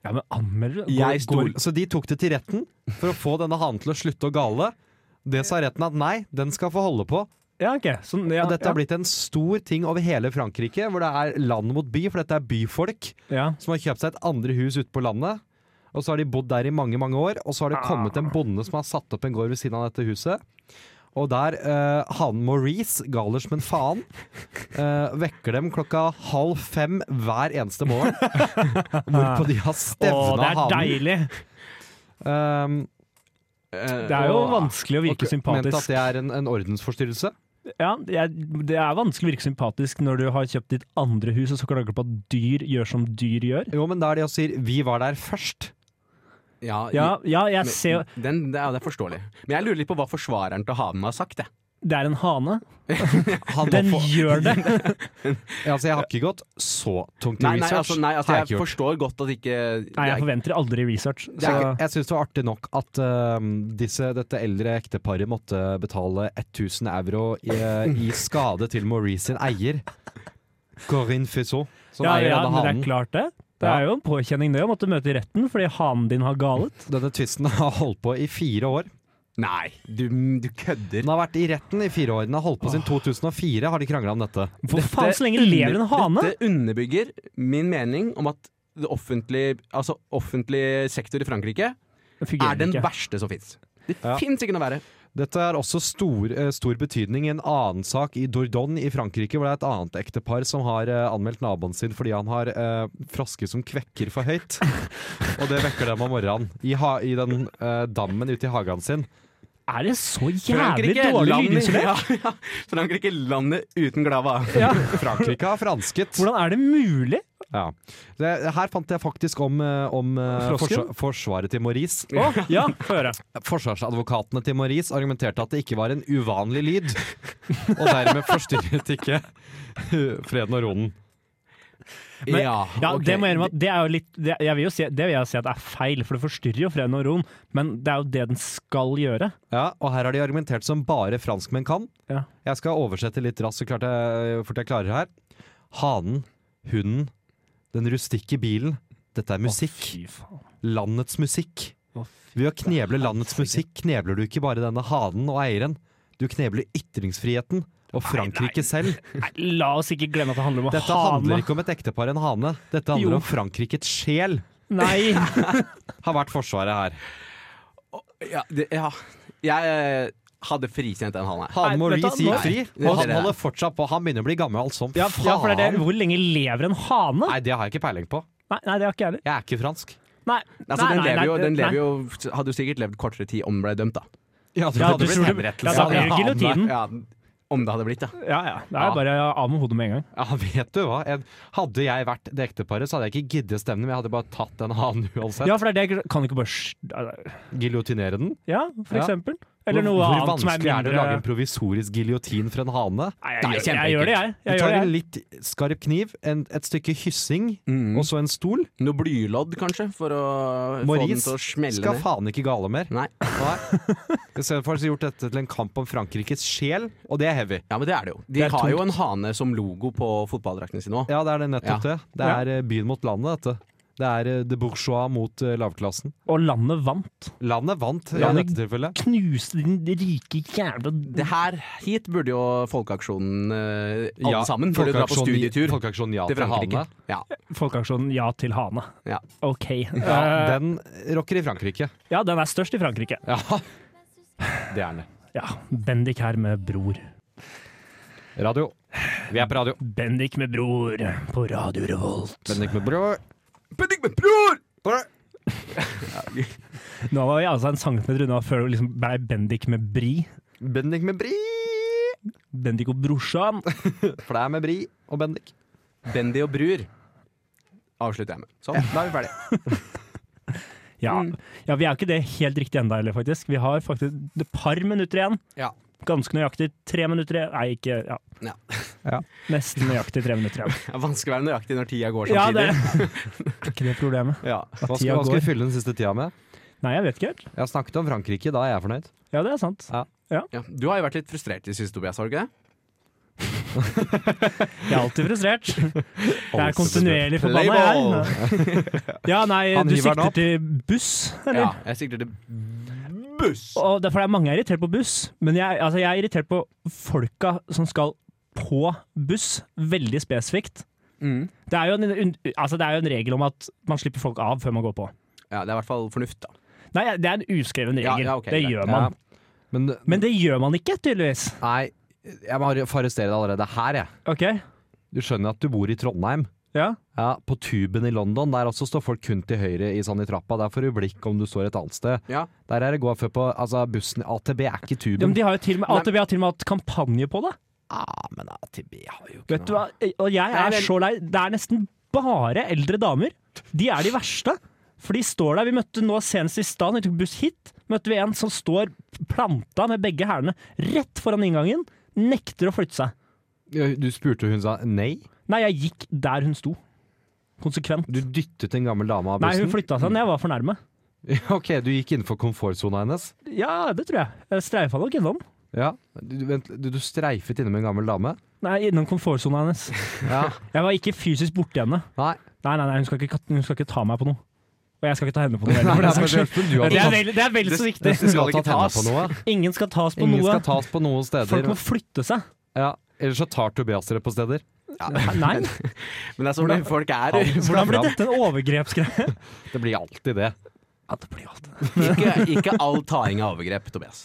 Speaker 4: Ja, men anmelder
Speaker 6: Jeg
Speaker 4: går-
Speaker 6: stol-
Speaker 4: går-
Speaker 5: Så de tok det til retten for å få denne hanen til å slutte å gale. Det sa retten at nei, den skal få holde på.
Speaker 4: Ja, ok. Sånn, ja,
Speaker 5: Og dette har
Speaker 4: ja.
Speaker 5: blitt en stor ting over hele Frankrike, hvor det er land mot by, for dette er byfolk
Speaker 4: ja.
Speaker 5: som har kjøpt seg et andre hus ute på landet. Og så har de bodd der i mange mange år, og så har det kommet en bonde som har satt opp en gård ved siden av dette huset. Og der eh, hanen Maurice, galer som en faen, eh, vekker dem klokka halv fem hver eneste morgen. Hvorpå de har
Speaker 4: Å, det
Speaker 5: stevna
Speaker 4: er
Speaker 5: hanen.
Speaker 4: deilig!
Speaker 5: Um,
Speaker 4: Det er jo vanskelig å virke
Speaker 5: Mente at
Speaker 4: sympatisk.
Speaker 5: det er en, en ordensforstyrrelse.
Speaker 4: Ja, det er, det er vanskelig å virke sympatisk når du har kjøpt ditt andre hus og så klager du på at dyr gjør som dyr gjør.
Speaker 5: Jo, men da er de og sier 'vi var der først'.
Speaker 6: Ja,
Speaker 4: Ja, ja jeg
Speaker 6: men-
Speaker 4: ser jo
Speaker 6: den, det, er- det er forståelig. Men jeg lurer litt på hva forsvareren til Hanen har sagt. Jeg.
Speaker 4: Det er en hane.
Speaker 5: Han må
Speaker 4: Den
Speaker 5: få-
Speaker 4: gjør det!
Speaker 5: altså, jeg har ikke gått så tungt i
Speaker 6: Nei, nei,
Speaker 5: research.
Speaker 6: altså, nei, altså,
Speaker 5: Har
Speaker 6: jeg
Speaker 5: ikke gjort.
Speaker 6: forstår godt at ikke det
Speaker 4: Nei, jeg
Speaker 6: er-
Speaker 4: forventer aldri research.
Speaker 5: Det
Speaker 4: Så
Speaker 5: er ikke- jeg syns det var artig nok at øhm, disse, dette eldre ekteparet måtte betale 1000 euro i, eh, i skade til Maurice sin eier. Corinne Fusseau, som
Speaker 4: ja,
Speaker 5: eier
Speaker 4: ja,
Speaker 5: denne
Speaker 4: men det er
Speaker 5: hanen.
Speaker 4: klart det. Det er jo en påkjenning det å måtte møte i retten fordi hanen din har galet.
Speaker 5: Denne tvisten har holdt på i fire år.
Speaker 6: Nei, du, du kødder.
Speaker 5: Den har vært i retten i fire år. Den har holdt på siden 2004, har de krangla om dette.
Speaker 4: For faen, så lenge lever en hane!
Speaker 6: Dette underbygger min mening om at det offentlige, altså offentlig sektor i Frankrike
Speaker 4: Det
Speaker 6: er
Speaker 4: fungerer
Speaker 6: den
Speaker 4: ikke.
Speaker 6: verste som fins. Det
Speaker 5: Ja.
Speaker 6: fins ikke noe verre.
Speaker 5: Dette er også stor, eh, stor betydning i en annen sak i Dordogne i Frankrike, hvor det er et annet ektepar som har eh, anmeldt naboen sin fordi han har eh, frosker som kvekker for høyt. Og det vekker dem om morgenen. I, ha, i den eh, dammen ute i hagen sin.
Speaker 4: Er det så jævlig dårlig
Speaker 6: landet-
Speaker 4: lydisolert?
Speaker 6: ja, ja. Frankrike, landet uten glava.
Speaker 4: Ja.
Speaker 5: Frankrike har fransket.
Speaker 4: Hvordan er det mulig?
Speaker 5: Ja. Det, her fant jeg faktisk om, eh, om eh,
Speaker 4: Frosken?
Speaker 5: forsvar, forsvaret til Maurice.
Speaker 4: Å, ja, få høre.
Speaker 5: Forsvarsadvokatene til Maurice argumenterte at det ikke var en uvanlig lyd, og dermed forstyrret ikke freden og roen.
Speaker 4: Men-
Speaker 6: ja,
Speaker 4: Ja,
Speaker 6: ok.
Speaker 4: det må jeg innrømme at det er jo litt det, Jeg vil jo si, det vil jeg si at det er feil, for det forstyrrer jo freden og roen, men det er jo det den skal gjøre.
Speaker 5: Ja, og her har de argumentert som bare franskmenn kan.
Speaker 4: Ja.
Speaker 5: Jeg skal oversette litt raskt, så klart jeg, eh, fort jeg klarer her. Hanen, hunden, den rustikke bilen. Dette er musikk.
Speaker 4: Fy faen.
Speaker 5: Landets musikk.
Speaker 4: Å,
Speaker 5: Ved å kneble landets musikk knebler du ikke bare denne hanen og eieren. Du knebler ytringsfriheten og Frankrike selv.
Speaker 4: Nei, la oss ikke glemme at det handler om
Speaker 5: Dette
Speaker 4: hane.
Speaker 5: handler ikke om et ektepar og en hane. Dette handler
Speaker 4: Jo.
Speaker 5: om Frankrikes sjel,
Speaker 4: Nei!
Speaker 5: har vært forsvaret her.
Speaker 6: Ja, det, ja. Jeg, eh, hadde frikjent den han her.
Speaker 4: Nei,
Speaker 5: Hademo
Speaker 4: vet du hva,
Speaker 5: Reece gikk
Speaker 4: nå-
Speaker 5: fri,
Speaker 6: Nei,
Speaker 5: og
Speaker 6: det er
Speaker 5: han
Speaker 6: det.
Speaker 5: holder fortsatt på. Han begynner å bli gammel som
Speaker 4: Ja,
Speaker 5: faen.
Speaker 4: ja, for det er det. Hvor lenge lever en hane?
Speaker 5: Nei, det har jeg ikke peiling på.
Speaker 4: Nei, nei det har ikke jeg heller.
Speaker 5: Jeg er ikke fransk.
Speaker 4: Nei.
Speaker 6: Altså,
Speaker 4: nei,
Speaker 6: den,
Speaker 4: nei,
Speaker 6: lever
Speaker 4: nei,
Speaker 6: jo, den
Speaker 4: nei.
Speaker 6: lever jo Hadde jo sikkert levd kortere tid om den ble dømt, da.
Speaker 5: Ja, det
Speaker 4: Ja,
Speaker 5: hadde
Speaker 4: du
Speaker 5: blitt
Speaker 4: tror du-
Speaker 5: henrettelse.
Speaker 4: Ja, da blir det
Speaker 5: han-
Speaker 4: guillotinen.
Speaker 6: Ja, om det hadde blitt, ja.
Speaker 4: Ja, ja. Det er
Speaker 6: Ja.
Speaker 4: bare av med hodet med en gang.
Speaker 5: Ja, vet du hva. Jeg, hadde jeg vært det ekteparet, så hadde jeg ikke giddet stemme, men jeg hadde bare tatt den hanen uansett.
Speaker 4: Ja, for det er det. Kan du ikke bare sj-
Speaker 5: Giljotinere den.
Speaker 4: Ja, for
Speaker 5: Ja.
Speaker 4: eksempel. Eller noe
Speaker 5: hvor, hvor
Speaker 4: annet som er
Speaker 5: vanskelig er det å
Speaker 4: mindre
Speaker 5: lage en provisorisk giljotin for en hane?
Speaker 4: Nei,
Speaker 6: Nei,
Speaker 4: jeg,
Speaker 6: det er
Speaker 4: jeg, jeg gjør det, jeg.
Speaker 5: Du
Speaker 4: jeg,
Speaker 5: tar
Speaker 4: gjør det,
Speaker 5: en
Speaker 4: jeg.
Speaker 5: litt skarp kniv, en, et stykke hyssing,
Speaker 6: Mm.
Speaker 5: og så en stol.
Speaker 6: Noe blylodd, kanskje, for å få den
Speaker 5: Maurice
Speaker 6: til å smelle
Speaker 5: skal
Speaker 6: ned.
Speaker 5: faen ikke gale mer.
Speaker 6: Nei.
Speaker 5: Nei. Istedenfor har de gjort dette til en kamp om Frankrikes sjel, og det er heavy.
Speaker 6: Ja, men det er det jo. De
Speaker 4: Det er
Speaker 6: har jo en hane som logo på fotballdraktene sine òg.
Speaker 5: Ja, det er det nettopp det. Det
Speaker 4: Ja.
Speaker 5: er eh, byen mot landet, dette. Det er eh, de bourgeois mot eh, lavklassen.
Speaker 4: Og landet vant.
Speaker 5: Landet vant eh, i
Speaker 4: Ja, men-
Speaker 5: dette tilfellet.
Speaker 4: Knuste din rike jævla
Speaker 6: Det her hit burde jo Folkeaksjonen eh, alle
Speaker 5: Ja,
Speaker 6: sammen burde dra på
Speaker 5: Folkeaksjon-
Speaker 6: studietur
Speaker 5: Folkeaksjon ja
Speaker 6: til
Speaker 5: til
Speaker 6: Frankrike.
Speaker 5: hane.
Speaker 6: Ja.
Speaker 4: Folkeaksjonen Ja til hane.
Speaker 6: Ja.
Speaker 4: OK.
Speaker 5: Ja,
Speaker 4: Eh,
Speaker 5: den rocker i Frankrike.
Speaker 4: ja, den er størst i Frankrike.
Speaker 5: Ja, det er den.
Speaker 4: Ja. Bendik her med Bror.
Speaker 5: Radio. Vi er på radio.
Speaker 4: Bendik med Bror på Radio Revolt.
Speaker 5: Bendik med bror.
Speaker 6: Bendik med bror!
Speaker 4: Nå var vi altså en centimeter unna før det liksom ble Bendik med Bri.
Speaker 5: Bendik med bri.
Speaker 4: Bendik og brorsan.
Speaker 5: For det er med bri og Bendik.
Speaker 6: Bendy og Brur avslutter jeg med. Sånn.
Speaker 5: Da er vi ferdige.
Speaker 4: Ja.
Speaker 6: Mm.
Speaker 4: ja, vi er jo ikke det helt riktig enda heller, faktisk. Vi har faktisk et par minutter igjen.
Speaker 6: Ja.
Speaker 4: Ganske nøyaktig tre minutter igjen. Nei, ikke ja.
Speaker 6: Ja.
Speaker 5: Ja.
Speaker 4: Nesten nøyaktig tre minutter igjen.
Speaker 6: Det er vanskelig å være nøyaktig når tida går
Speaker 4: Ja, det
Speaker 6: samtidig.
Speaker 4: er ikke det problemet.
Speaker 6: Ja,
Speaker 5: Hva
Speaker 4: Tida
Speaker 5: skal, hva skal
Speaker 4: går.
Speaker 5: vi fylle den siste tida med?
Speaker 4: Nei, jeg vet ikke helt.
Speaker 5: Jeg har snakket om Frankrike, da er jeg fornøyd.
Speaker 4: Ja, det er sant.
Speaker 6: ja. Du har jo vært litt frustrert i det siste, Tobias, har du ikke det?
Speaker 4: Jeg er alltid frustrert. Jeg er kontinuerlig
Speaker 6: Play
Speaker 4: forbanna, jeg. Ja, nei,
Speaker 5: Han
Speaker 4: du
Speaker 5: hiver
Speaker 4: sikter
Speaker 5: den opp.
Speaker 4: til buss, eller?
Speaker 6: Ja, jeg sikter til buss.
Speaker 4: Og derfor er mange irritert på buss, men jeg, altså, jeg er irritert på folka som skal på buss, veldig spesifikt.
Speaker 6: Mm.
Speaker 4: Det er, jo en, un- altså, det er jo en regel om at man slipper folk av før man går på.
Speaker 6: Ja, det er i hvert fall fornuft, da.
Speaker 4: Nei, det er en uskreven regel.
Speaker 6: Ja, ja, ok,
Speaker 4: det
Speaker 6: greit.
Speaker 4: gjør man.
Speaker 5: Men,
Speaker 4: Men det gjør man ikke, tydeligvis.
Speaker 5: nei, jeg må få arrestere deg allerede her, jeg.
Speaker 4: Ok?
Speaker 5: Du skjønner at du bor i Trondheim.
Speaker 4: Ja.
Speaker 5: Ja, På tuben i London, der også står folk kun til høyre i sånn i trappa. Der får du blikk om du står et annet sted.
Speaker 6: Ja.
Speaker 5: Der er det gå før på altså bussen. AtB er ikke
Speaker 4: Ja, men
Speaker 5: tuben.
Speaker 4: de har jo til og med,
Speaker 6: Nei.
Speaker 4: AtB har til og med hatt kampanje på det.
Speaker 5: ah, men AtB har jo ikke
Speaker 4: Vet du hva? Og jeg
Speaker 6: Nei,
Speaker 4: er
Speaker 6: vel-
Speaker 4: så lei. Det er nesten bare eldre damer. De er de verste. For de står der. Vi møtte nå senest i stad, når vi tok buss hit, møtte vi en som står planta med begge hælene rett foran inngangen. Nekter å flytte seg.
Speaker 5: Du spurte, og hun sa nei.
Speaker 4: Nei, jeg gikk der hun sto. Konsekvent.
Speaker 5: Du dyttet en gammel dame av
Speaker 4: Nei,
Speaker 5: bussen.
Speaker 4: hun flytta seg når jeg var for nærme.
Speaker 5: ok, du gikk innenfor komfortsona hennes.
Speaker 4: Ja, det tror jeg. Jeg streifa nok innom.
Speaker 5: Ja. Du, vent, du, du streifet innom en gammel dame.
Speaker 4: Nei, innom komfortsona hennes.
Speaker 5: Ja.
Speaker 4: Jeg var ikke fysisk borti henne.
Speaker 5: Nei.
Speaker 4: Nei, nei, nei hun, skal ikke, hun skal ikke ta meg på noe. Og jeg skal ikke ta henne på noe. heller, for den saks skyld.
Speaker 5: du
Speaker 4: Det er vel, det er vel så viktig.
Speaker 5: Du skal
Speaker 6: skal
Speaker 5: ta
Speaker 6: ikke
Speaker 5: tenna
Speaker 6: tas.
Speaker 5: på noe.
Speaker 4: Ingen skal tas på
Speaker 5: Ingen
Speaker 4: noe.
Speaker 5: skal tas på noen steder.
Speaker 4: Folk må flytte seg.
Speaker 5: Ja. Ellers så tar Tobias dere på steder.
Speaker 4: Nei,
Speaker 6: Men det er sånn folk er.
Speaker 4: hvordan blir dette en overgrepsgreie?
Speaker 5: Det blir alltid det.
Speaker 4: Ja, det blir alt det.
Speaker 6: Ikke, ikke all taing av overgrep, Tobias.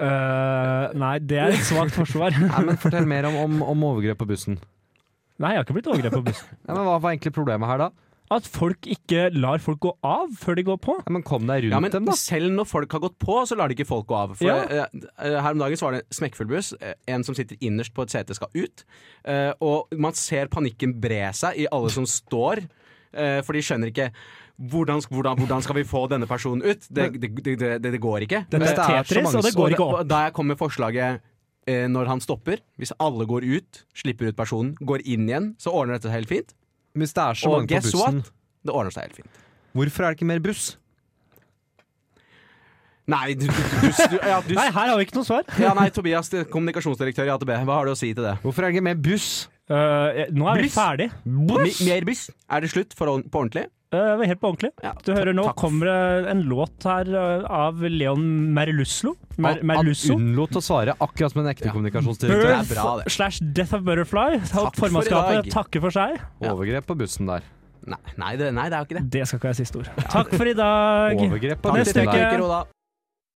Speaker 4: nei, det er et svakt forsvar.
Speaker 5: Nei, men Fortell mer om, om, om overgrep på bussen.
Speaker 4: Nei, jeg har ikke blitt overgrep på bussen.
Speaker 5: Nei, men Hva var egentlig problemet her, da?
Speaker 4: At folk ikke lar folk gå av før de går på.
Speaker 5: Nei, men Kom deg rundt
Speaker 6: Ja, men
Speaker 5: dem, da.
Speaker 6: selv når folk har gått på, så lar de ikke folk gå av. For
Speaker 4: Ja.
Speaker 6: eh, eh, Her om dagen så var det en smekkfull buss. eh, En som sitter innerst på et sete, skal ut. eh, og man ser panikken bre seg i alle som står, eh, for de skjønner ikke hvordan, hvordan, hvordan skal vi få denne personen ut? Det, det, det, det, det går ikke.
Speaker 4: Dette
Speaker 5: Men
Speaker 4: er
Speaker 5: det er så
Speaker 4: Tetris,
Speaker 5: mange
Speaker 4: og det
Speaker 5: som-
Speaker 4: går ikke
Speaker 6: Og
Speaker 4: opp.
Speaker 6: da- Da jeg kom med forslaget eh, når han stopper, hvis alle går ut, slipper ut personen, går inn igjen, så ordner dette seg helt fint.
Speaker 5: Hvis det er så
Speaker 6: Og
Speaker 5: mange på
Speaker 6: guess
Speaker 5: bussen,
Speaker 6: what? Det ordner seg helt fint.
Speaker 5: hvorfor er det ikke mer buss?
Speaker 6: Nei, du, du, du, du, ja, du
Speaker 4: Nei, her har vi ikke noe svar.
Speaker 6: ja, nei, Tobias, det- kommunikasjonsdirektør i AtB, hva har du å si til det?
Speaker 5: Hvorfor er det ikke mer buss?
Speaker 4: Eh, nå er vi
Speaker 6: Buss.
Speaker 4: ferdig.
Speaker 6: Mi- Mer buss? Er det slutt for, ord- på ordentlig?
Speaker 4: Eh, vi er helt på ordentlig.
Speaker 6: Ja,
Speaker 4: Du hører nå
Speaker 6: takk.
Speaker 4: kommer det en låt her eh, av Leon Merluslo. Mer
Speaker 5: Han
Speaker 4: Merlusso.
Speaker 5: unnlot å svare, akkurat som en ekte kommunikasjonsdirektør.
Speaker 4: Birth
Speaker 6: Det er bra, det.
Speaker 4: slash Death of Butterfly.
Speaker 6: Takk for i
Speaker 4: Formannskapet
Speaker 6: dag.
Speaker 4: takker for seg.
Speaker 5: Overgrep på bussen der.
Speaker 6: Nei, nei, det, nei det er jo ikke det.
Speaker 4: Det skal ikke være siste ord. Takk for i dag.
Speaker 5: Overgrep på
Speaker 4: Neste
Speaker 5: bussen
Speaker 4: uke.
Speaker 5: der.
Speaker 6: Ikke råd da.